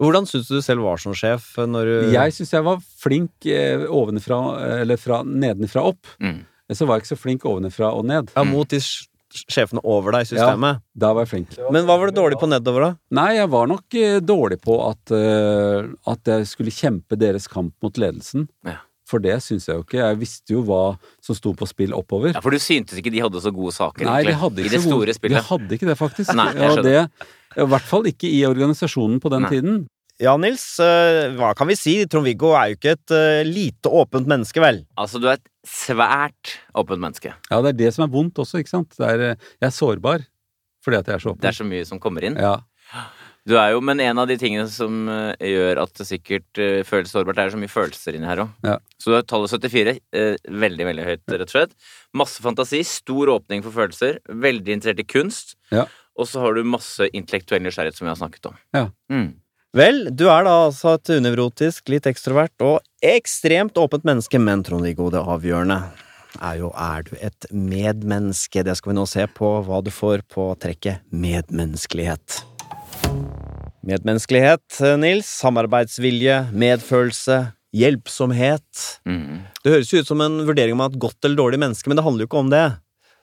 Hvordan syns du du selv var som sjef? eh, Når du... Jeg syns jeg var flink eh, ovenifra, eller fra, nedenifra opp. Mm. Men Så var jeg ikke så flink ovenifra og ned. Ja, mot de sj- sjefene over deg i systemet. Da var jeg flink. Men hva var det dårlig på nedover, da? Nei, jeg var nok eh, dårlig på at, eh, at jeg skulle kjempe deres kamp mot ledelsen. Ja. For det syns jeg jo ikke. Jeg visste jo hva som sto på spill oppover. Ja, for du syntes ikke de hadde så gode saker, Nei, de egentlig, hadde ikke i det så gode- store spillet. De hadde ikke det, faktisk. Nei, jeg og det, I hvert fall ikke i organisasjonen på den Nei. tiden. Ja, Nils, eh, hva kan vi si? Trond-Viggo er jo ikke et eh, lite åpent menneske, vel? Altså, du er et svært åpent menneske. Ja, det er det som er vondt også, ikke sant? Det er, eh, jeg er sårbar fordi at jeg er så åpen. Det er så mye som kommer inn. Ja, Du er jo, Men en av de tingene som eh, gjør at det sikkert eh, føles sårbart, det er så mye følelser inni her òg. Ja. Så du har tallet 74. eh, veldig, veldig høyt, rett og slett. Masse fantasi, stor åpning for følelser. Veldig interessert i kunst. Ja. Og så har du masse intellektuell nysgjerrighet, som vi har snakket om. Ja. Mm. Vel, du er da altså et unevrotisk, litt ekstrovert og ekstremt åpent menneske, men Trond-Viggo, det avgjørende er jo er du et medmenneske. Det skal vi nå se på hva du får på trekket medmenneskelighet. Medmenneskelighet, Nils. Samarbeidsvilje, medfølelse, hjelpsomhet. Mm. Det høres jo ut som en vurdering om man er et godt eller dårlig menneske, men det handler jo ikke om det.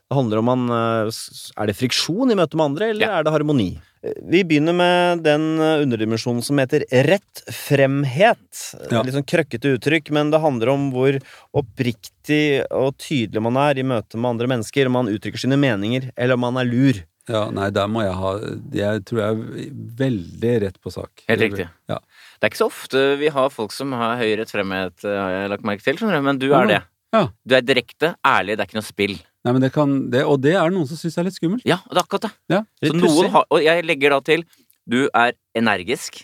Det handler om man, eh, s- Er det friksjon i møte med andre, eller Ja. er det harmoni? Eh, Vi begynner med den eh, underdimensjonen som heter rett fremhet. Ja. Litt sånn krøkkete uttrykk, men det handler om hvor oppriktig og tydelig man er i møte med andre mennesker. Om man uttrykker sine meninger, eller om man er lur. Ja, nei, der må jeg ha Jeg tror jeg er veldig rett på sak. Helt riktig. Ja. Det er ikke så ofte vi har folk som har høy rett fremhet, eh, har jeg lagt merke til, skjønner du, men du Ja. er det. Ja. Du er direkte, ærlig, det er ikke noe spill. Nei, men det kan, det, og det er noen som syns det er litt skummelt. Ja, det er akkurat det. Ja. Så Litt noen pussig. har, og jeg legger da til du er energisk,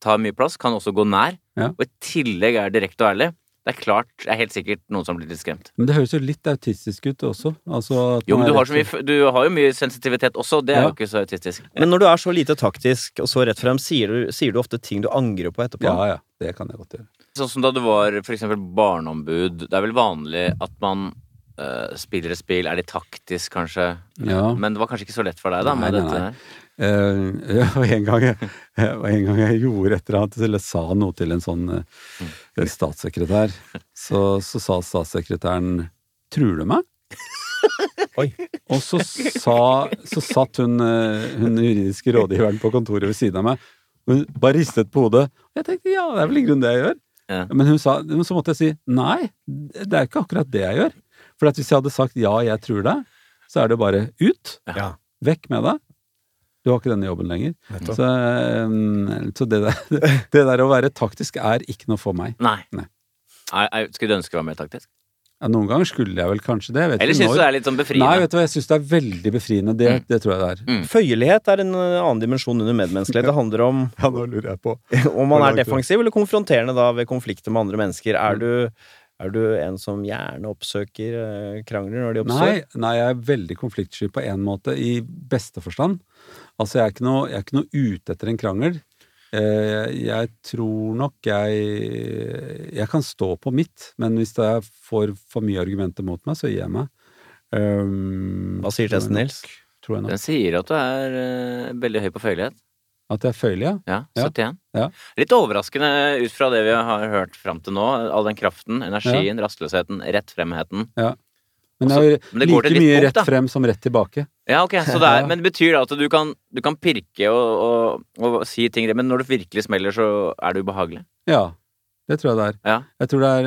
tar mye plass, kan også gå nær, Ja. og i tillegg er direkte og ærlig. Det er klart, det er helt sikkert noen som blir litt skremt. Men det høres jo litt autistisk ut også. Altså, at Jo, men man er du har, rett så mye, f- du har jo mye sensitivitet også, det er Ja. jo ikke så autistisk. Men når du er så lite taktisk og så rett frem, sier du, sier du ofte ting du angrer på etterpå. Ja, ja. Det kan jeg godt gjøre. Sånn som da du var for eksempel barneombud, det er vel vanlig at man eh, spiller et spill, er litt taktisk kanskje, Ja. men det var kanskje ikke så lett for deg da Nei, med nei, dette nei. her. Eh, ja, og en gang jeg, og en gang jeg gjorde et eller annet, eller sa noe til en sånn eh, Mm. statssekretær, så, så sa statssekretæren 'truer du meg?' Oi. Og så, sa, så satt hun, eh, hun juridiske rådgiveren på kontoret ved siden av meg, og hun bare ristet på hodet. Og jeg tenkte 'ja, det er vel i grunnen det jeg gjør'. Ja. Men hun sa, men så måtte jeg si nei, det er ikke akkurat det jeg gjør. For at hvis jeg hadde sagt ja, jeg tror deg, så er det bare ut, Ja. vekk med deg. Du har ikke denne jobben lenger. Nettopp. Så, um, så det, der, det der å være taktisk er ikke noe for meg. Nei. Nei. Nei, nei, Skulle du ønske du var mer taktisk? Ja, noen ganger skulle jeg vel kanskje det. jeg Vet Eller ikke synes du det når. er litt sånn Nei, befriende? vet du hva, jeg syns det er veldig befriende. Det, det tror jeg det er. Mm. Føyelighet er en eh, annen dimensjon under medmenneskelighet. Det handler om Ja, nå lurer jeg på. Om man Hvor er langt det- defensiv eller konfronterende da ved konflikter med andre mennesker. Mm. Er du, er du en som gjerne oppsøker eh, krangler når de oppstår? Nei, nei, jeg er veldig konfliktsky på én måte, i beste forstand. Altså, jeg er ikke noe, jeg er ikke noe ute etter en krangel. Eh, jeg tror nok jeg Jeg kan stå på mitt, men hvis jeg får for mye argumenter mot meg, så gir jeg meg. Um, Hva sier testen, Nils? Tror jeg nok. Den sier at du er eh, veldig høy på føyelighet. At jeg er føyelig, ja. Ja, Ja. 71. Ja. Litt overraskende ut fra det vi har hørt fram til nå. All den kraften, energien, rastløsheten, rettfremheten. Men jeg men er det går til et like mye visst punkt, rett da. frem som rett tilbake. Ja, ok, så det Ja. er, Men det betyr det at du kan, du kan pirke og, og, og si ting, men når det virkelig smeller, så er det ubehagelig? Ja. Det tror jeg det er. Ja. Jeg tror det er,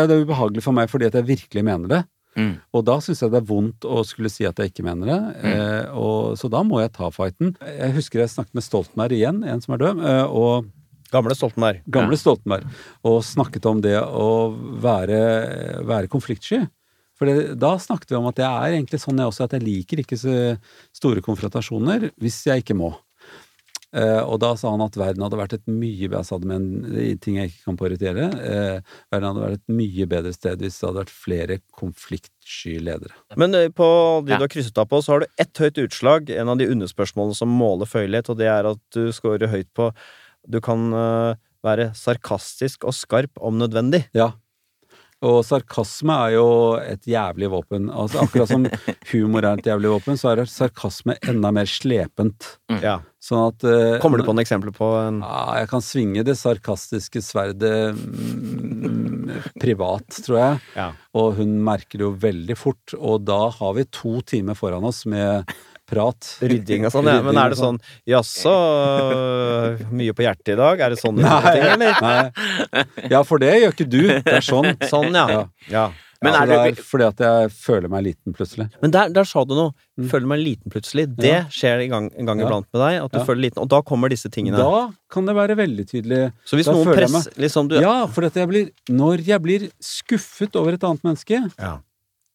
ja, det er ubehagelig for meg fordi at jeg virkelig mener det. Mm. Og da syns jeg det er vondt å skulle si at jeg ikke mener det, eh, og, så da må jeg ta fighten. Jeg husker jeg snakket med Stoltenberg igjen, en som er død, eh, og Gamle Stoltenberg. gamle Stoltenberg, og snakket om det å være, være konfliktsky. For det, da snakket vi om at jeg er egentlig sånn jeg også, at jeg liker ikke så store konfrontasjoner hvis jeg ikke må. Eh, og da sa han at verden hadde vært et mye bedre Jeg sa det med en ting jeg ikke kan prioritere. Eh, verden hadde vært et mye bedre sted hvis det hadde vært flere konfliktsky ledere. Men eh, på de Ja. du har krysset av på, så har du ett høyt utslag. En av de underspørsmålene som måler føyelighet, og det er at du scorer høyt på Du kan eh, være sarkastisk og skarp om nødvendig. Ja. Og sarkasme er jo et jævlig våpen. Altså Akkurat som humor er et jævlig våpen, så er sarkasme enda mer slepent. Ja. Sånn at eh, Kommer du på noen eksempler på en Ja, jeg kan svinge det sarkastiske sverdet mm, privat, tror jeg. Ja. Og hun merker det jo veldig fort, og da har vi to timer foran oss med prat. Rydding og sånn, ja. Men Rydding er det og sånn Jaså, øh, mye på hjertet i dag? Er det sånn? Nei, ting, eller? nei. Ja, for det gjør ikke du. Det er sånn. Sånn, ja. Ja. ja. Men så er det du- er fordi at jeg føler meg liten plutselig. Men der, der sa du noe. Føler meg liten plutselig. Det skjer en gang, en gang Mm. Ja. iblant med deg. At du Ja. føler liten, Og da kommer disse tingene. Da kan det være veldig tydelig. så hvis da noen føler jeg press, liksom du, Ja, for at jeg blir, når jeg blir skuffet over et annet menneske, Ja.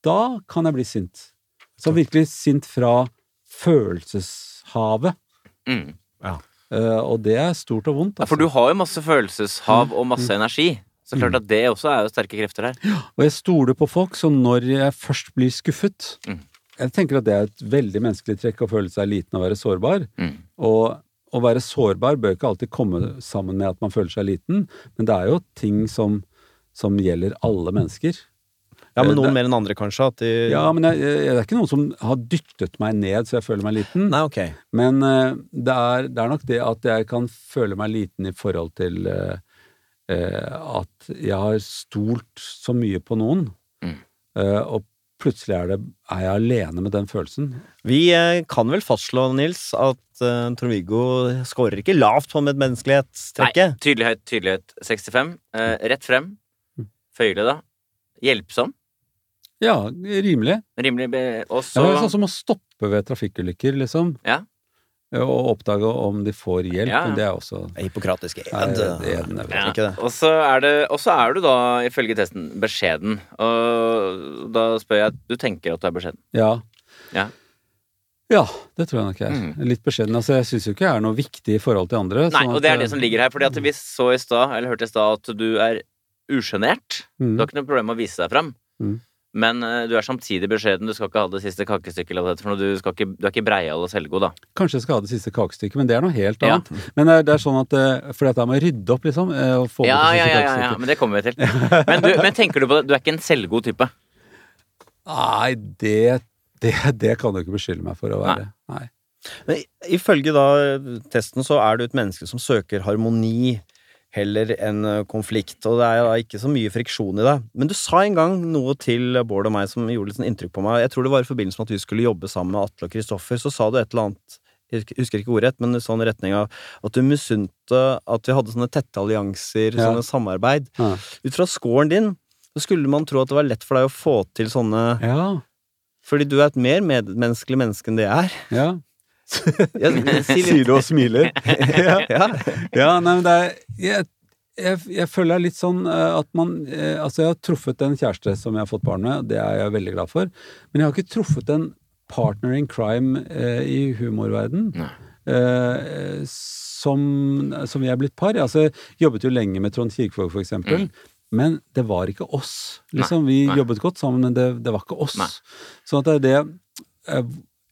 da kan jeg bli sint. Så virkelig sint fra følelseshavet. Mm. Eh, og det er stort og vondt. Ja, for altså. du har jo masse følelseshav og masse Mm. energi. Så klart at det også er jo sterke krefter her. Og jeg stoler på folk, så når jeg først blir skuffet Mm. Jeg tenker at det er et veldig menneskelig trekk å føle seg liten og være sårbar. Mm. Og å være sårbar bør ikke alltid komme sammen med at man føler seg liten, men det er jo ting som, som gjelder alle mennesker. Ja, men Eh, noen det- mer enn andre, kanskje? At de... Ja, men jeg, jeg, det er ikke noen som har dyttet meg ned så jeg føler meg liten. Nei, ok. Men eh, det, er, det er nok det at jeg kan føle meg liten i forhold til eh, eh, at jeg har stolt så mye på noen, Mm. eh, og plutselig er, det, er jeg alene med den følelsen. Vi eh, kan vel fastslå, Nils, at eh, Trond-Viggo scorer ikke lavt på medmenneskelighetstrekket. Tydelighet, tydelighet 65. Eh, rett frem. Mm. Føyelig, da. Hjelpsom. Ja, rimelig. Rimelig be- Og Det så er sånn som å stoppe ved trafikkulykker, liksom. Eh, Ja. Og oppdage om de får hjelp. Ja, ja. Det er også Hippokratisk Nei, ed. det er den jeg vet Ja. Ikke det. Og så er, det, og så er du da, ifølge testen, beskjeden. Og da spør jeg Du tenker at du er beskjeden? Ja. Ja. Ja, det tror jeg nok jeg er. Mm. Litt beskjeden. Altså, jeg syns jo ikke jeg er noe viktig i forhold til andre. Nei, sånn og at det er det jeg- som ligger her. Fordi at vi så i stad, eller hørte i stad, at du er usjenert. Du Mm. har ikke noe problem med å vise deg fram. Mm. Men eh, du er samtidig beskjeden. Du skal ikke ha det siste kakestykket. Eller hva det heter for noe. Du, skal ikke, du er ikke breial og selvgod, da. Kanskje jeg skal ha det siste kakestykket, men det er noe helt Ja. annet. Men det er, det er sånn at eh, For dette med å rydde opp, liksom. eh, Og få Ja, bort det ja, siste ja, ja, ja, kakestykket. men det kommer vi til. Men, du, men tenker du på det? Du er ikke en selvgod type. Nei, det, det, det kan du ikke beskylde meg for å være. Nei. Men ifølge da testen så er du et menneske som søker harmoni heller enn eh, konflikt, og det er da ikke så mye friksjon i det. Men du sa en gang noe til Bård og meg som gjorde litt sånn inntrykk på meg. Jeg tror det var i forbindelse med at vi skulle jobbe sammen med Atle og Kristoffer, så sa du et eller annet jeg husker- husker ikke ordrett, men i sånn retning av at du misunte at vi hadde sånne tette allianser, Ja. sånne samarbeid. Ja. Ut fra scoren din så skulle man tro at det var lett for deg å få til sånne Ja. Fordi du er et mer medmenneskelig menneske enn det jeg er. ja. Jeg, si litt. Sier du og smiler. ja. Ja. Ja, nei, men det er jeg, jeg, jeg føler det er litt sånn eh, at man eh, Altså, jeg har truffet en kjæreste som jeg har fått barn med, og det er jeg veldig glad for. Men jeg har ikke truffet en partner in crime eh, i humorverden Nei. eh, som, som vi er blitt par. Altså, jeg jobbet jo lenge med Trond Kirkevåg, for eksempel. Men det var ikke oss. Liksom, Vi Mm. nei. jobbet godt sammen, men det, det var ikke oss. Nei. Sånn at det er det eh,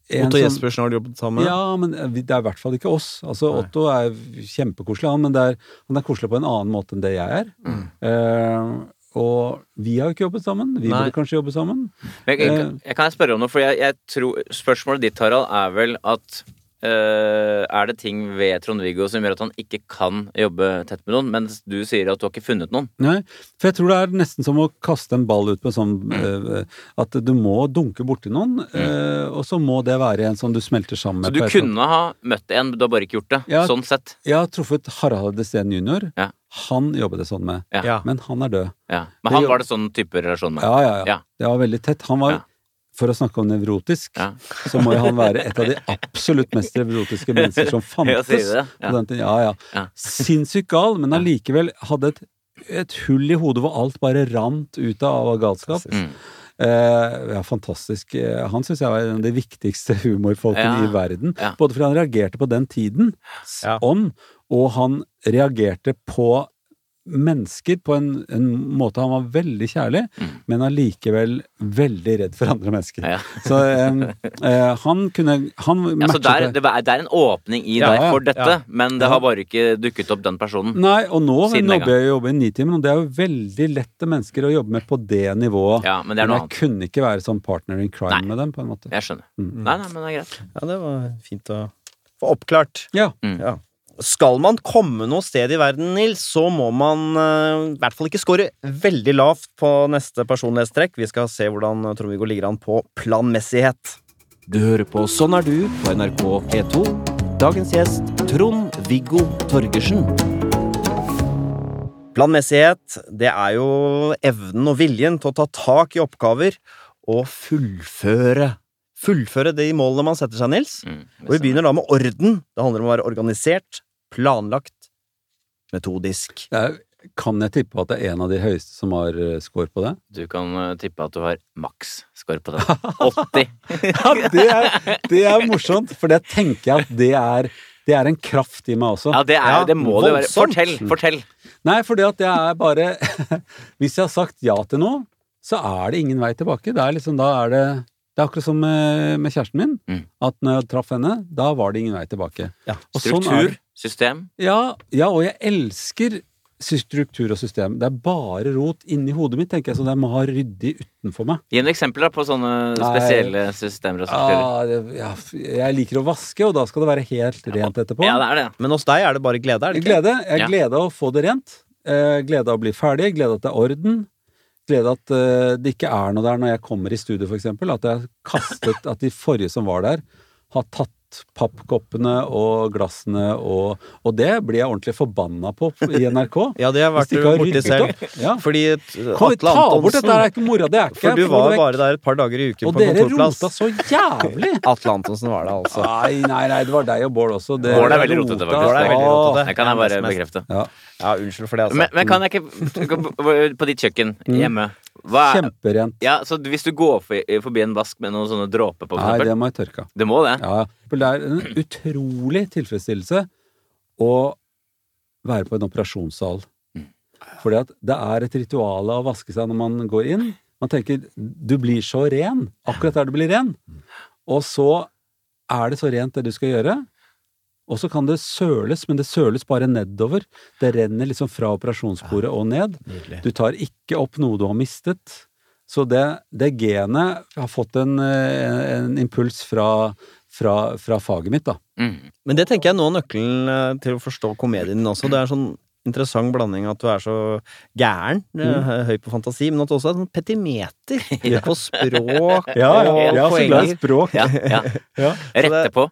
en Otto som- Jespersen har du jobbet sammen med. ja, men eh, vi- det er i hvert fall ikke oss. Altså, Nei. Otto er kjempekoselig, han, men det er, han er koselig på en annen måte enn det jeg er. Mm. Eh, og vi har jo ikke jobbet sammen. Vi Nei. burde kanskje jobbe sammen. Eh, Men jeg, jeg, jeg kan jeg spørre om noe, for jeg, jeg tror spørsmålet ditt, Harald, er vel at øh, Er det ting ved Trond-Viggo som gjør at han ikke kan jobbe tett med noen, mens du sier at du har ikke funnet noen? Nei, For jeg tror det er nesten som å kaste en ball ut med sånn eh, At du må dunke borti noen, eh, og så må det være en som du smelter sammen Mm. Så med. du på et eller annet- kunne ha møtt en, du har bare ikke gjort det. Ja. Sånn sett. Jeg har truffet Harald Steen jr. Ja. Han jobbet det sånn med. Ja. Ja. Men han er død. Ja. Men han var det sånn type relasjon med. Ja, ja, ja. Ja. Det var veldig tett. Han var, Ja. for å snakke om nevrotisk, Ja. så må jo han være et av de absolutt mest nevrotiske mennesker som Ja, sier fantes. du det? Ja. på den tiden. ja, ja. Ja. Sinnssykt gal, men allikevel hadde et, et hull i hodet hvor alt bare rant ut av galskap. Mm. Eh, ja, fantastisk. Eh, Han syns jeg var en av de viktigste humorfolkene Ja. i verden. Ja. Både fordi han reagerte på den tiden, Ja. ånd, og han reagerte på mennesker på en, en måte han var veldig kjærlig, men allikevel veldig redd for andre mennesker. Mm. Ja. Så eh, eh, han kunne Han Ja, så matchet der, det. det, er- det er en åpning i Ja, deg ja, for dette, ja. men det Ja. Mm. har bare ikke dukket opp den personen. Nei, og nå Siden den jobber jeg jo jobber i Nitimen, og det er jo veldig lette mennesker å jobbe med på det nivået. Ja, men det er noe jeg annet. kunne ikke være sånn partner in crime Nei. med dem, på en måte. Jeg skjønner. Mm. Nei, nei, men det er greit. Ja, det var fint å få oppklart. Ja. Ja. Skal man komme noe sted i verden, Nils, så må man eh, i hvert fall ikke score veldig lavt på neste personlighetstrekk. Vi skal se hvordan Trond-Viggo ligger an på planmessighet. Du hører på Sånn er du på NRK P2. Dagens gjest Trond-Viggo Torgersen. Planmessighet, det er jo evnen og viljen til å ta tak i oppgaver og fullføre. Fullføre de målene man setter seg, Nils. Mm, Og vi begynner da med orden. Det handler om å være organisert, planlagt, metodisk. Det er- Kan jeg tippe at det er en av de høyeste som har eh, score på det? Du kan eh, tippe at du har maks score på den. 80. Ja, det er, det er morsomt, for det tenker jeg at det er, det er en kraft i meg også. Ja, det, er, Ja, det må det jo være. voldsomt. Fortell! fortell Nei, for det at jeg er bare Hvis jeg har sagt ja til noe, så er det ingen vei tilbake. Det er liksom, da er det det er akkurat som eh, med kjæresten min. Mm. At når jeg traff henne, da var det ingen vei tilbake. Ja. Og sånn er Struktur, det. system. ja, ja, og jeg elsker struktur og system. Det er bare rot inni hodet mitt, tenker jeg, så jeg må ha ryddig utenfor meg. Gi noen eksempler da, på sånne Nei. spesielle systemer. og strukturer. Ah, det, ja, f- jeg liker å vaske, og da skal det være helt rent etterpå. Ja, det er det. Men hos deg er det bare glede, er det Jeg ikke? glede. Jeg Ja. glede av å få det rent. eh, Glede av å bli ferdig. Glede av at det er orden. Glede av at eh, det ikke er noe der når jeg kommer i studio, for eksempel. At jeg har kastet At de forrige som var der, har tatt pappkoppene og glassene og Og det blir jeg ordentlig forbanna på i NRK. Ja, det har Hvis vært de ikke har borti ryddet selv. opp. Ja. Fordi eh, Kan vi Atle ta bort dette? her? Det Antonsen er ikke mora, det er ikke For du få var det vekk. bare der et par dager i uken Og på dere rota kontorplass. så jævlig! Atle Antonsen var det, altså. Nei, nei, nei, det var deg og Bård også. Det- Bård er veldig rotete, faktisk. Bård er veldig Åh. rotete. Det kan jeg bare Mest- mest. bekrefte. Ja, Ja, unnskyld for det, altså. Men, men mm. kan jeg ikke På ditt kjøkken hjemme hva er, Kjemperent. ja, så Hvis du går for- forbi en vask med noen sånne dråper på, for Nei, eksempel det må jeg tørke av. Du må det. Ja, for det er en utrolig tilfredsstillelse å være på en operasjonssal. Fordi at det er et ritual av å vaske seg når man går inn. Man tenker 'du blir så ren', akkurat der du blir ren. Og så er det så rent det du skal gjøre. Og så kan det søles, men det søles bare nedover. Det renner liksom fra operasjonsbordet og ned. Nydelig. Du tar ikke opp noe du har mistet. Så det, det genet har fått en, eh, en impuls fra, fra, fra faget mitt, da. Mm. Men det tenker jeg nå er nøkkelen eh, til å forstå komedien din også. Det er en sånn interessant blanding at du er så gæren, Mm. eh, høy på fantasi, men at du også er sånn petimeter på språk og ja, poenger. språk. Ja, ja. Ja. Rette på.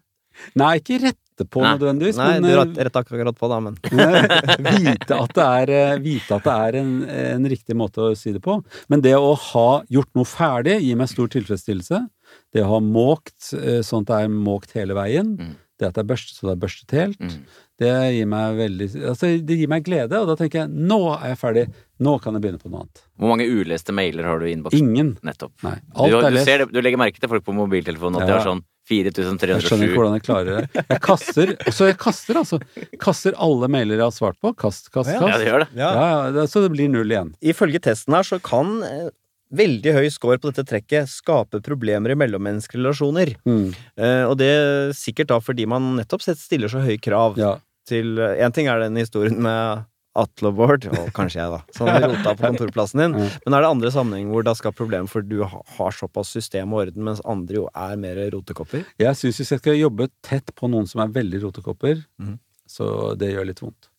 Nei, ikke rette på Nei. nødvendigvis, Nei, du men rett- retta akkurat på da, men eh, vite at det er, eh, vite at det er en, en riktig måte å si det på. Men det å ha gjort noe ferdig gir meg stor tilfredsstillelse. Det å ha måkt eh, sånn at det er måkt hele veien. Mm. Det at det er børstet så det er børstet helt. Mm. Det gir meg veldig Altså, det gir meg glede, og da tenker jeg nå er jeg ferdig. Nå kan jeg begynne på noe annet. Hvor mange uleste mailer har du i innboksen? Ingen. Nettopp. Nei. Du, Alt er du, lest. ser det, du legger merke til folk på mobiltelefonen at de Ja. har sånn Jeg skjønner ikke 4307. hvordan jeg klarer det. Jeg kaster, så jeg kaster altså. Kaster alle mailer jeg har svart på. Kast, kast, Ja. Ja, kast. du gjør det. Ja, ja, det- så det blir null igjen. Ifølge testen her så kan eh, veldig høy score på dette trekket skape problemer i mellommenneskelige relasjoner. Mm, Eh, Og det er sikkert da fordi man nettopp sett stiller så høy krav ja. til eh, En ting er den historien med Atle og Bård, og kanskje jeg, da, som rota på kontorplassen din. Mm. Men er det andre sammenhenger hvor det skal problemer, for du ha- har såpass system og orden, mens andre jo er mer rotekopper? Jeg syns hvis jeg skal jobbe tett på noen som er veldig rotekopper, Mhm. så det gjør litt vondt.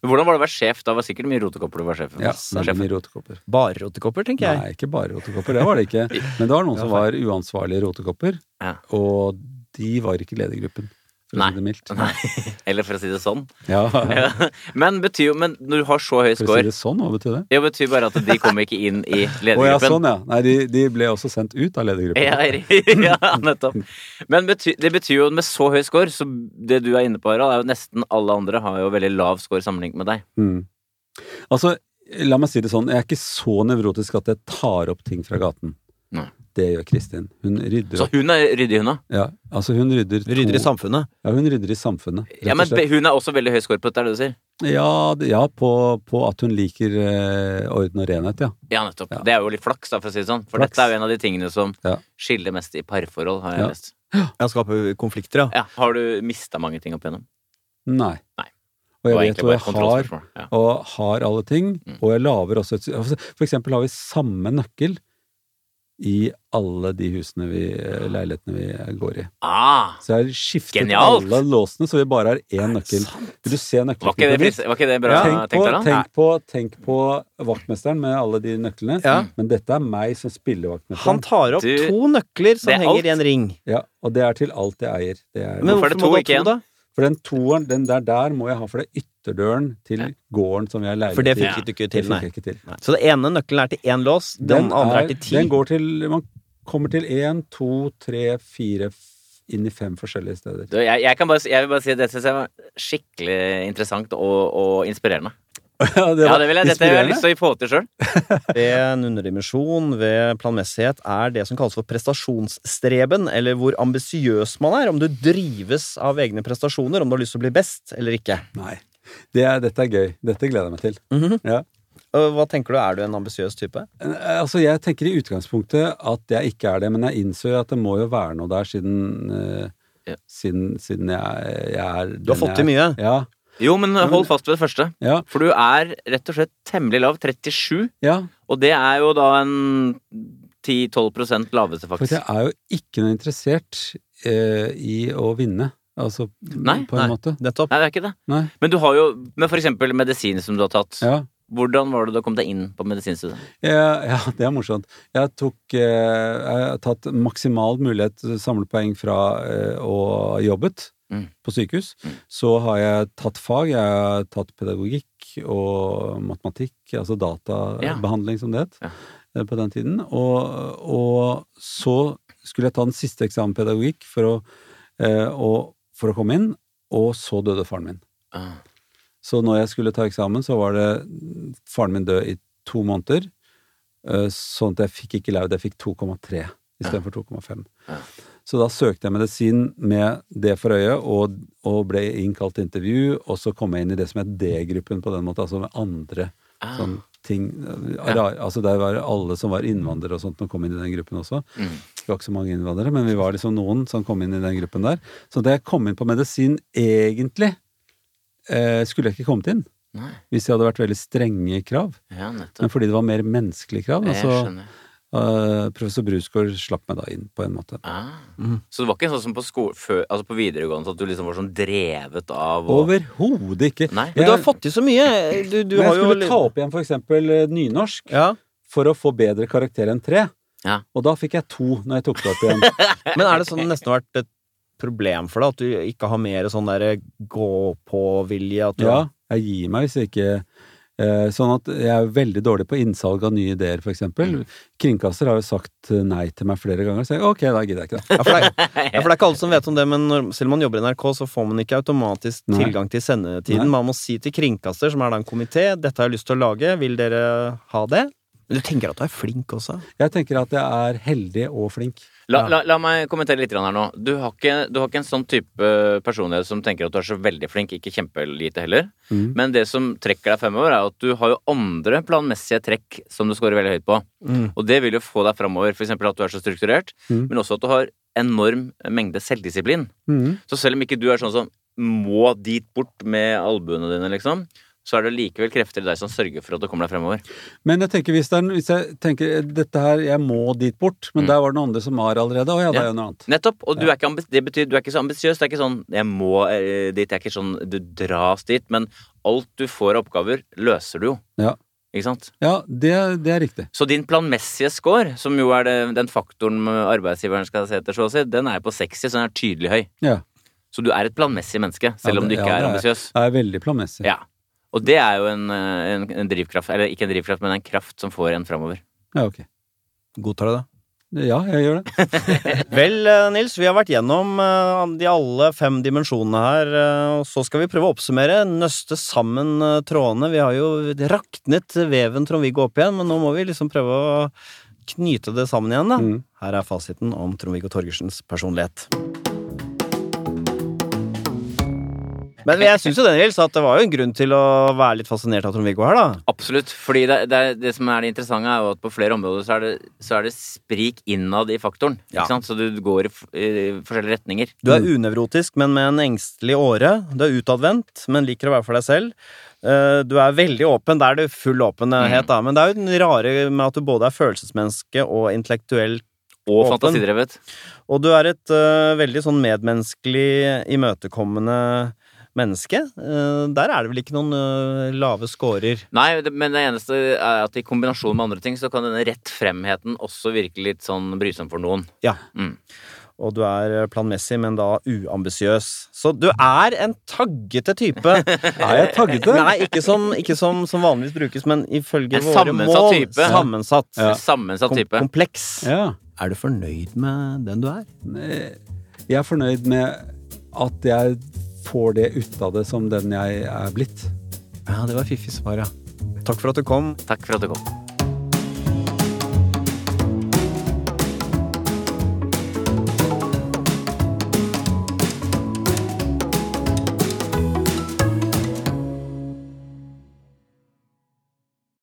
Men hvordan var det å være sjef? Da var det sikkert mye rotekopper du var sjef. Ja, sjef. veldig mye rotekopper. Bare rotekopper, tenker jeg. Nei, ikke bare rotekopper. Det var det ikke. Men det var noen som var uansvarlige rotekopper, Ja. og de var ikke ledergruppen. For å Nei. si det mildt. Nei. Eller for å si det sånn. Ja. For Men, betyr, jo- men når du har så høy å si score, det sånn, hva betyr det? det betyr bare at de kommer ikke inn i Å ja, ledergruppen. sånn ja. Nei, de, de ble også sendt ut av ledergruppen. Ja, ja, nettopp. Men bety, det betyr jo med så høy score, så det du er inne på, Harald, er jo nesten alle andre har jo veldig lav score sammenlignet med deg. Mm. Altså, la meg si det sånn, jeg er ikke så nevrotisk at jeg tar opp ting fra gaten. Nei. Det gjør Kristin. Hun rydder Så opp. hun er ryddig, hun òg. Ja, altså hun rydder, Du rydder i to, samfunnet. ja, hun rydder i samfunnet. Ja, rett og men slett. hun er også veldig høy score på dette, er det du sier? ja, det- ja på, på at hun liker eh, orden og renhet, ja. Ja, nettopp. Ja. Det er jo litt flaks, da, for å si det sånn. For Flaks. dette er jo en av de tingene som Ja. skiller mest i parforhold, har jeg Ja. lest. Jeg skaper konflikter, ja. Ja, har du mista mange ting opp igjennom? Nei. Nei. Og Det jeg var vet egentlig hvor bare et jeg har, kontrollspørsmål. Ja. og har alle ting, Mm. og jeg laver også et sy- For eksempel har vi samme nøkkel i alle de husene vi, eh, leilighetene vi går i. Ah, Så jeg har skiftet Genialt! alle låsene, så vi bare har én nøkkel. Vil du se var ikke det, nøkkelknippet mitt? frist- var ikke det bra tenk, tenkt, på, Harald? tenk, på, tenk på vaktmesteren med alle de nøklene. Ja. Men dette er meg som spiller Han vaktmesteren. tar opp Du- to nøkler som Det er alt. henger i en ring. Ja, og det er til alt jeg eier. Det er, Hvorfor Men er hvorfor det må to, du ha ikke to, en? da? for den toeren, den der der, må jeg ha for det er ytterdøren til gården som vi har leilighet For det til. fikk du ikke Det til, fikk nei. jeg ikke til. Så den ene nøkkelen er til én lås, den, andre er til ti. Den går til Man kommer til én, to, tre, fire f- inn i fem forskjellige steder. Du, jeg, jeg, kan bare, si- jeg vil bare si at det syns jeg var skikkelig interessant og, og inspirerende. Ja, det Ja, var det vil jeg, dette har jeg inspirerende. lyst til å få til sjøl. Ved en underdimensjon, ved planmessighet, er det som kalles for prestasjonsstreben, eller hvor ambisiøs man er, om du drives av egne prestasjoner, om du har lyst til å bli best eller ikke. Nei. Det er, dette er gøy. Dette gleder jeg meg til. Mhm. Ja. Og Hva tenker du, er du en ambisiøs type? Eh, Altså, Jeg tenker i utgangspunktet at jeg ikke er det, men jeg innså jo at det må jo være noe der siden eh, Ja. siden, siden jeg, jeg er Du har fått til mye. Ja. Jo, men hold fast ved det første. Ja, For du er rett og slett temmelig lav. 37. ja. Og det er jo da en 10-12 laveste, For faktisk. jeg er jo ikke noe interessert eh, i å vinne, altså Nei, på en nei. måte. Nettopp. Nei, det er ikke det. Nei. Men du har jo Men for eksempel medisin som du har tatt. Ja. Sånn. Hvordan var det du kom deg inn på medisinstudiet? Ja, Eh, ja, det er morsomt. Jeg tok eh, Jeg har tatt maksimal mulighet til samlepoeng fra eh, å ha jobbet Mm. på sykehus. Mm. Så har jeg tatt fag. Jeg har tatt pedagogikk og matematikk, altså Ja. databehandling som det het Ja. eh, på den tiden. Og, og så skulle jeg ta den siste eksamen pedagogikk for å, eh, og, for å komme inn, og så døde faren min. Ah, Så når jeg skulle ta eksamen, så var det faren min død i to måneder. eh, Sånn at jeg fikk ikke laud. Jeg fikk 2,3 istedenfor 2,5. Ja. Så da søkte jeg medisin med det for øye, og, og ble innkalt til intervju. Og så kom jeg inn i det som er D-gruppen på den måten, altså med andre ah. sånn ting. Ara- Altså der var det alle som var innvandrere og sånt, som kom inn i den gruppen også. Mm. Vi var ikke så mange innvandrere, men vi var liksom noen som kom inn i den gruppen der. Så da jeg kom inn på medisin, egentlig eh, skulle jeg ikke kommet inn. Nei. Hvis det hadde vært veldig strenge krav. Ja, nettopp. Men fordi det var mer menneskelige krav, da, Jeg så skjønner. eh, professor Brusgaard slapp meg da inn, på en måte. Ah. Mm. Så det var ikke sånn som på, sko- før, altså på videregående så at du liksom var sånn drevet av og... Overhodet ikke! Nei. Men du har Jeg- fått til så mye. Du, du men jeg har jo skulle ta opp igjen for eksempel eh, nynorsk. ja. for å få bedre karakter enn tre. Ja. Og da fikk jeg to når jeg tok det opp igjen. Men er det sånn det nesten har vært et problem for deg at du ikke har mer sånn derre gå-på-vilje? At du ja, jeg gir meg hvis jeg ikke eh, Sånn at jeg er veldig dårlig på innsalg av nye ideer, for eksempel. Kringkaster har jo sagt eh, nei til meg flere ganger, så jeg ok, da gidder jeg ikke det. Ja, for det, er- ja, for det er ikke alle som vet om det, men når, selv om man jobber i NRK, så får man ikke automatisk Nei. tilgang til sendetiden. Nei. Man må si til kringkaster, som er da en komité, 'dette har jeg lyst til å lage, vil dere ha det?' Men du tenker at du er flink også? Jeg tenker at jeg er heldig og flink. La, la, la meg kommentere litt grann her nå. Du har, ikke, du har ikke en sånn type personlighet som tenker at du er så veldig flink, ikke kjempelite heller. Mm. Men det som trekker deg fremover, er at du har jo andre planmessige trekk som du scorer veldig høyt på. Mm. Og det vil jo få deg fremover. For eksempel at du er så strukturert, Mm. men også at du har enorm mengde selvdisiplin. Mm. Så selv om ikke du er sånn som må dit bort med albuene dine, liksom, så er det likevel krefter i deg som sørger for at du kommer deg fremover. Men jeg tenker hvis, det er, en- hvis jeg tenker eh, dette her, jeg må dit bort, Mm. men der var det noen andre som var allerede, og ja, da Ja. gjør jeg noe annet. Nettopp. Og du er ikke, ambi- det betyr, du er ikke så ambisiøs. Det er ikke sånn 'jeg må eh, dit', det er ikke sånn 'du dras dit'. Men alt du får av oppgaver, løser du jo. Ja. Ikke sant? Ja, det, det er riktig. Så din planmessige score, som jo er det, den faktoren arbeidsgiveren skal se etter, så å si, den er på 60, så den er tydelig høy. Ja. Så du er et planmessig menneske, selv Ja, om du det- ikke ja, er det er- ambisiøs. Jeg er veldig planmessig. Ja. Og det er jo en, eh, en, en drivkraft, eller ikke en drivkraft, men en kraft som får en framover. Ja, ok. Godtar du det? Ja, jeg gjør det. Vel, eh, Nils, vi har vært gjennom eh, de alle fem dimensjonene her, eh, og så skal vi prøve å oppsummere. Nøste sammen eh, trådene. Vi har jo raknet veven Trond-Viggo opp igjen, men nå må vi liksom prøve å knyte det sammen igjen, da. Mm. Her er fasiten om Trond-Viggo Torgersens personlighet. Men jeg syns jo det, Nils, at det var jo en grunn til å være litt fascinert av Trond-Viggo her, da. Absolutt. fordi det, det, er- det som er det interessante, er jo at på flere områder så er det, så er det sprik innad i faktoren. Ja. Ikke sant? Så du går i, f- i forskjellige retninger. Du er unevrotisk, men med en engstelig åre. Du er utadvendt, men liker å være for deg selv. Eh, Du er veldig åpen. Der er det full åpenhet, da. Men det er jo den rare med at du både er følelsesmenneske og intellektuell. Og Åpen. fantasidrevet. Og du er et eh, veldig sånn medmenneskelig, imøtekommende menneske. Eh, der er det vel ikke noen eh, lave scorer. Nei, det, men det eneste er at i kombinasjon med andre ting, så kan denne rett fremheten også virke litt sånn brysom for noen. Ja. Mm. Og du er planmessig, men da uambisiøs. Så du er en taggete type. Er jeg taggete? Eh, Nei, ikke som, ikke som, som vanligvis brukes, men ifølge En våre sammensatt mål type. sammensatt. Sammensatt Kom type. kompleks. Ja. Er du fornøyd med den du er? Jeg er fornøyd med at jeg får det ut av det som den jeg er blitt. Ja, det var fiffig svar, ja. Takk for at du kom. Takk for at du kom.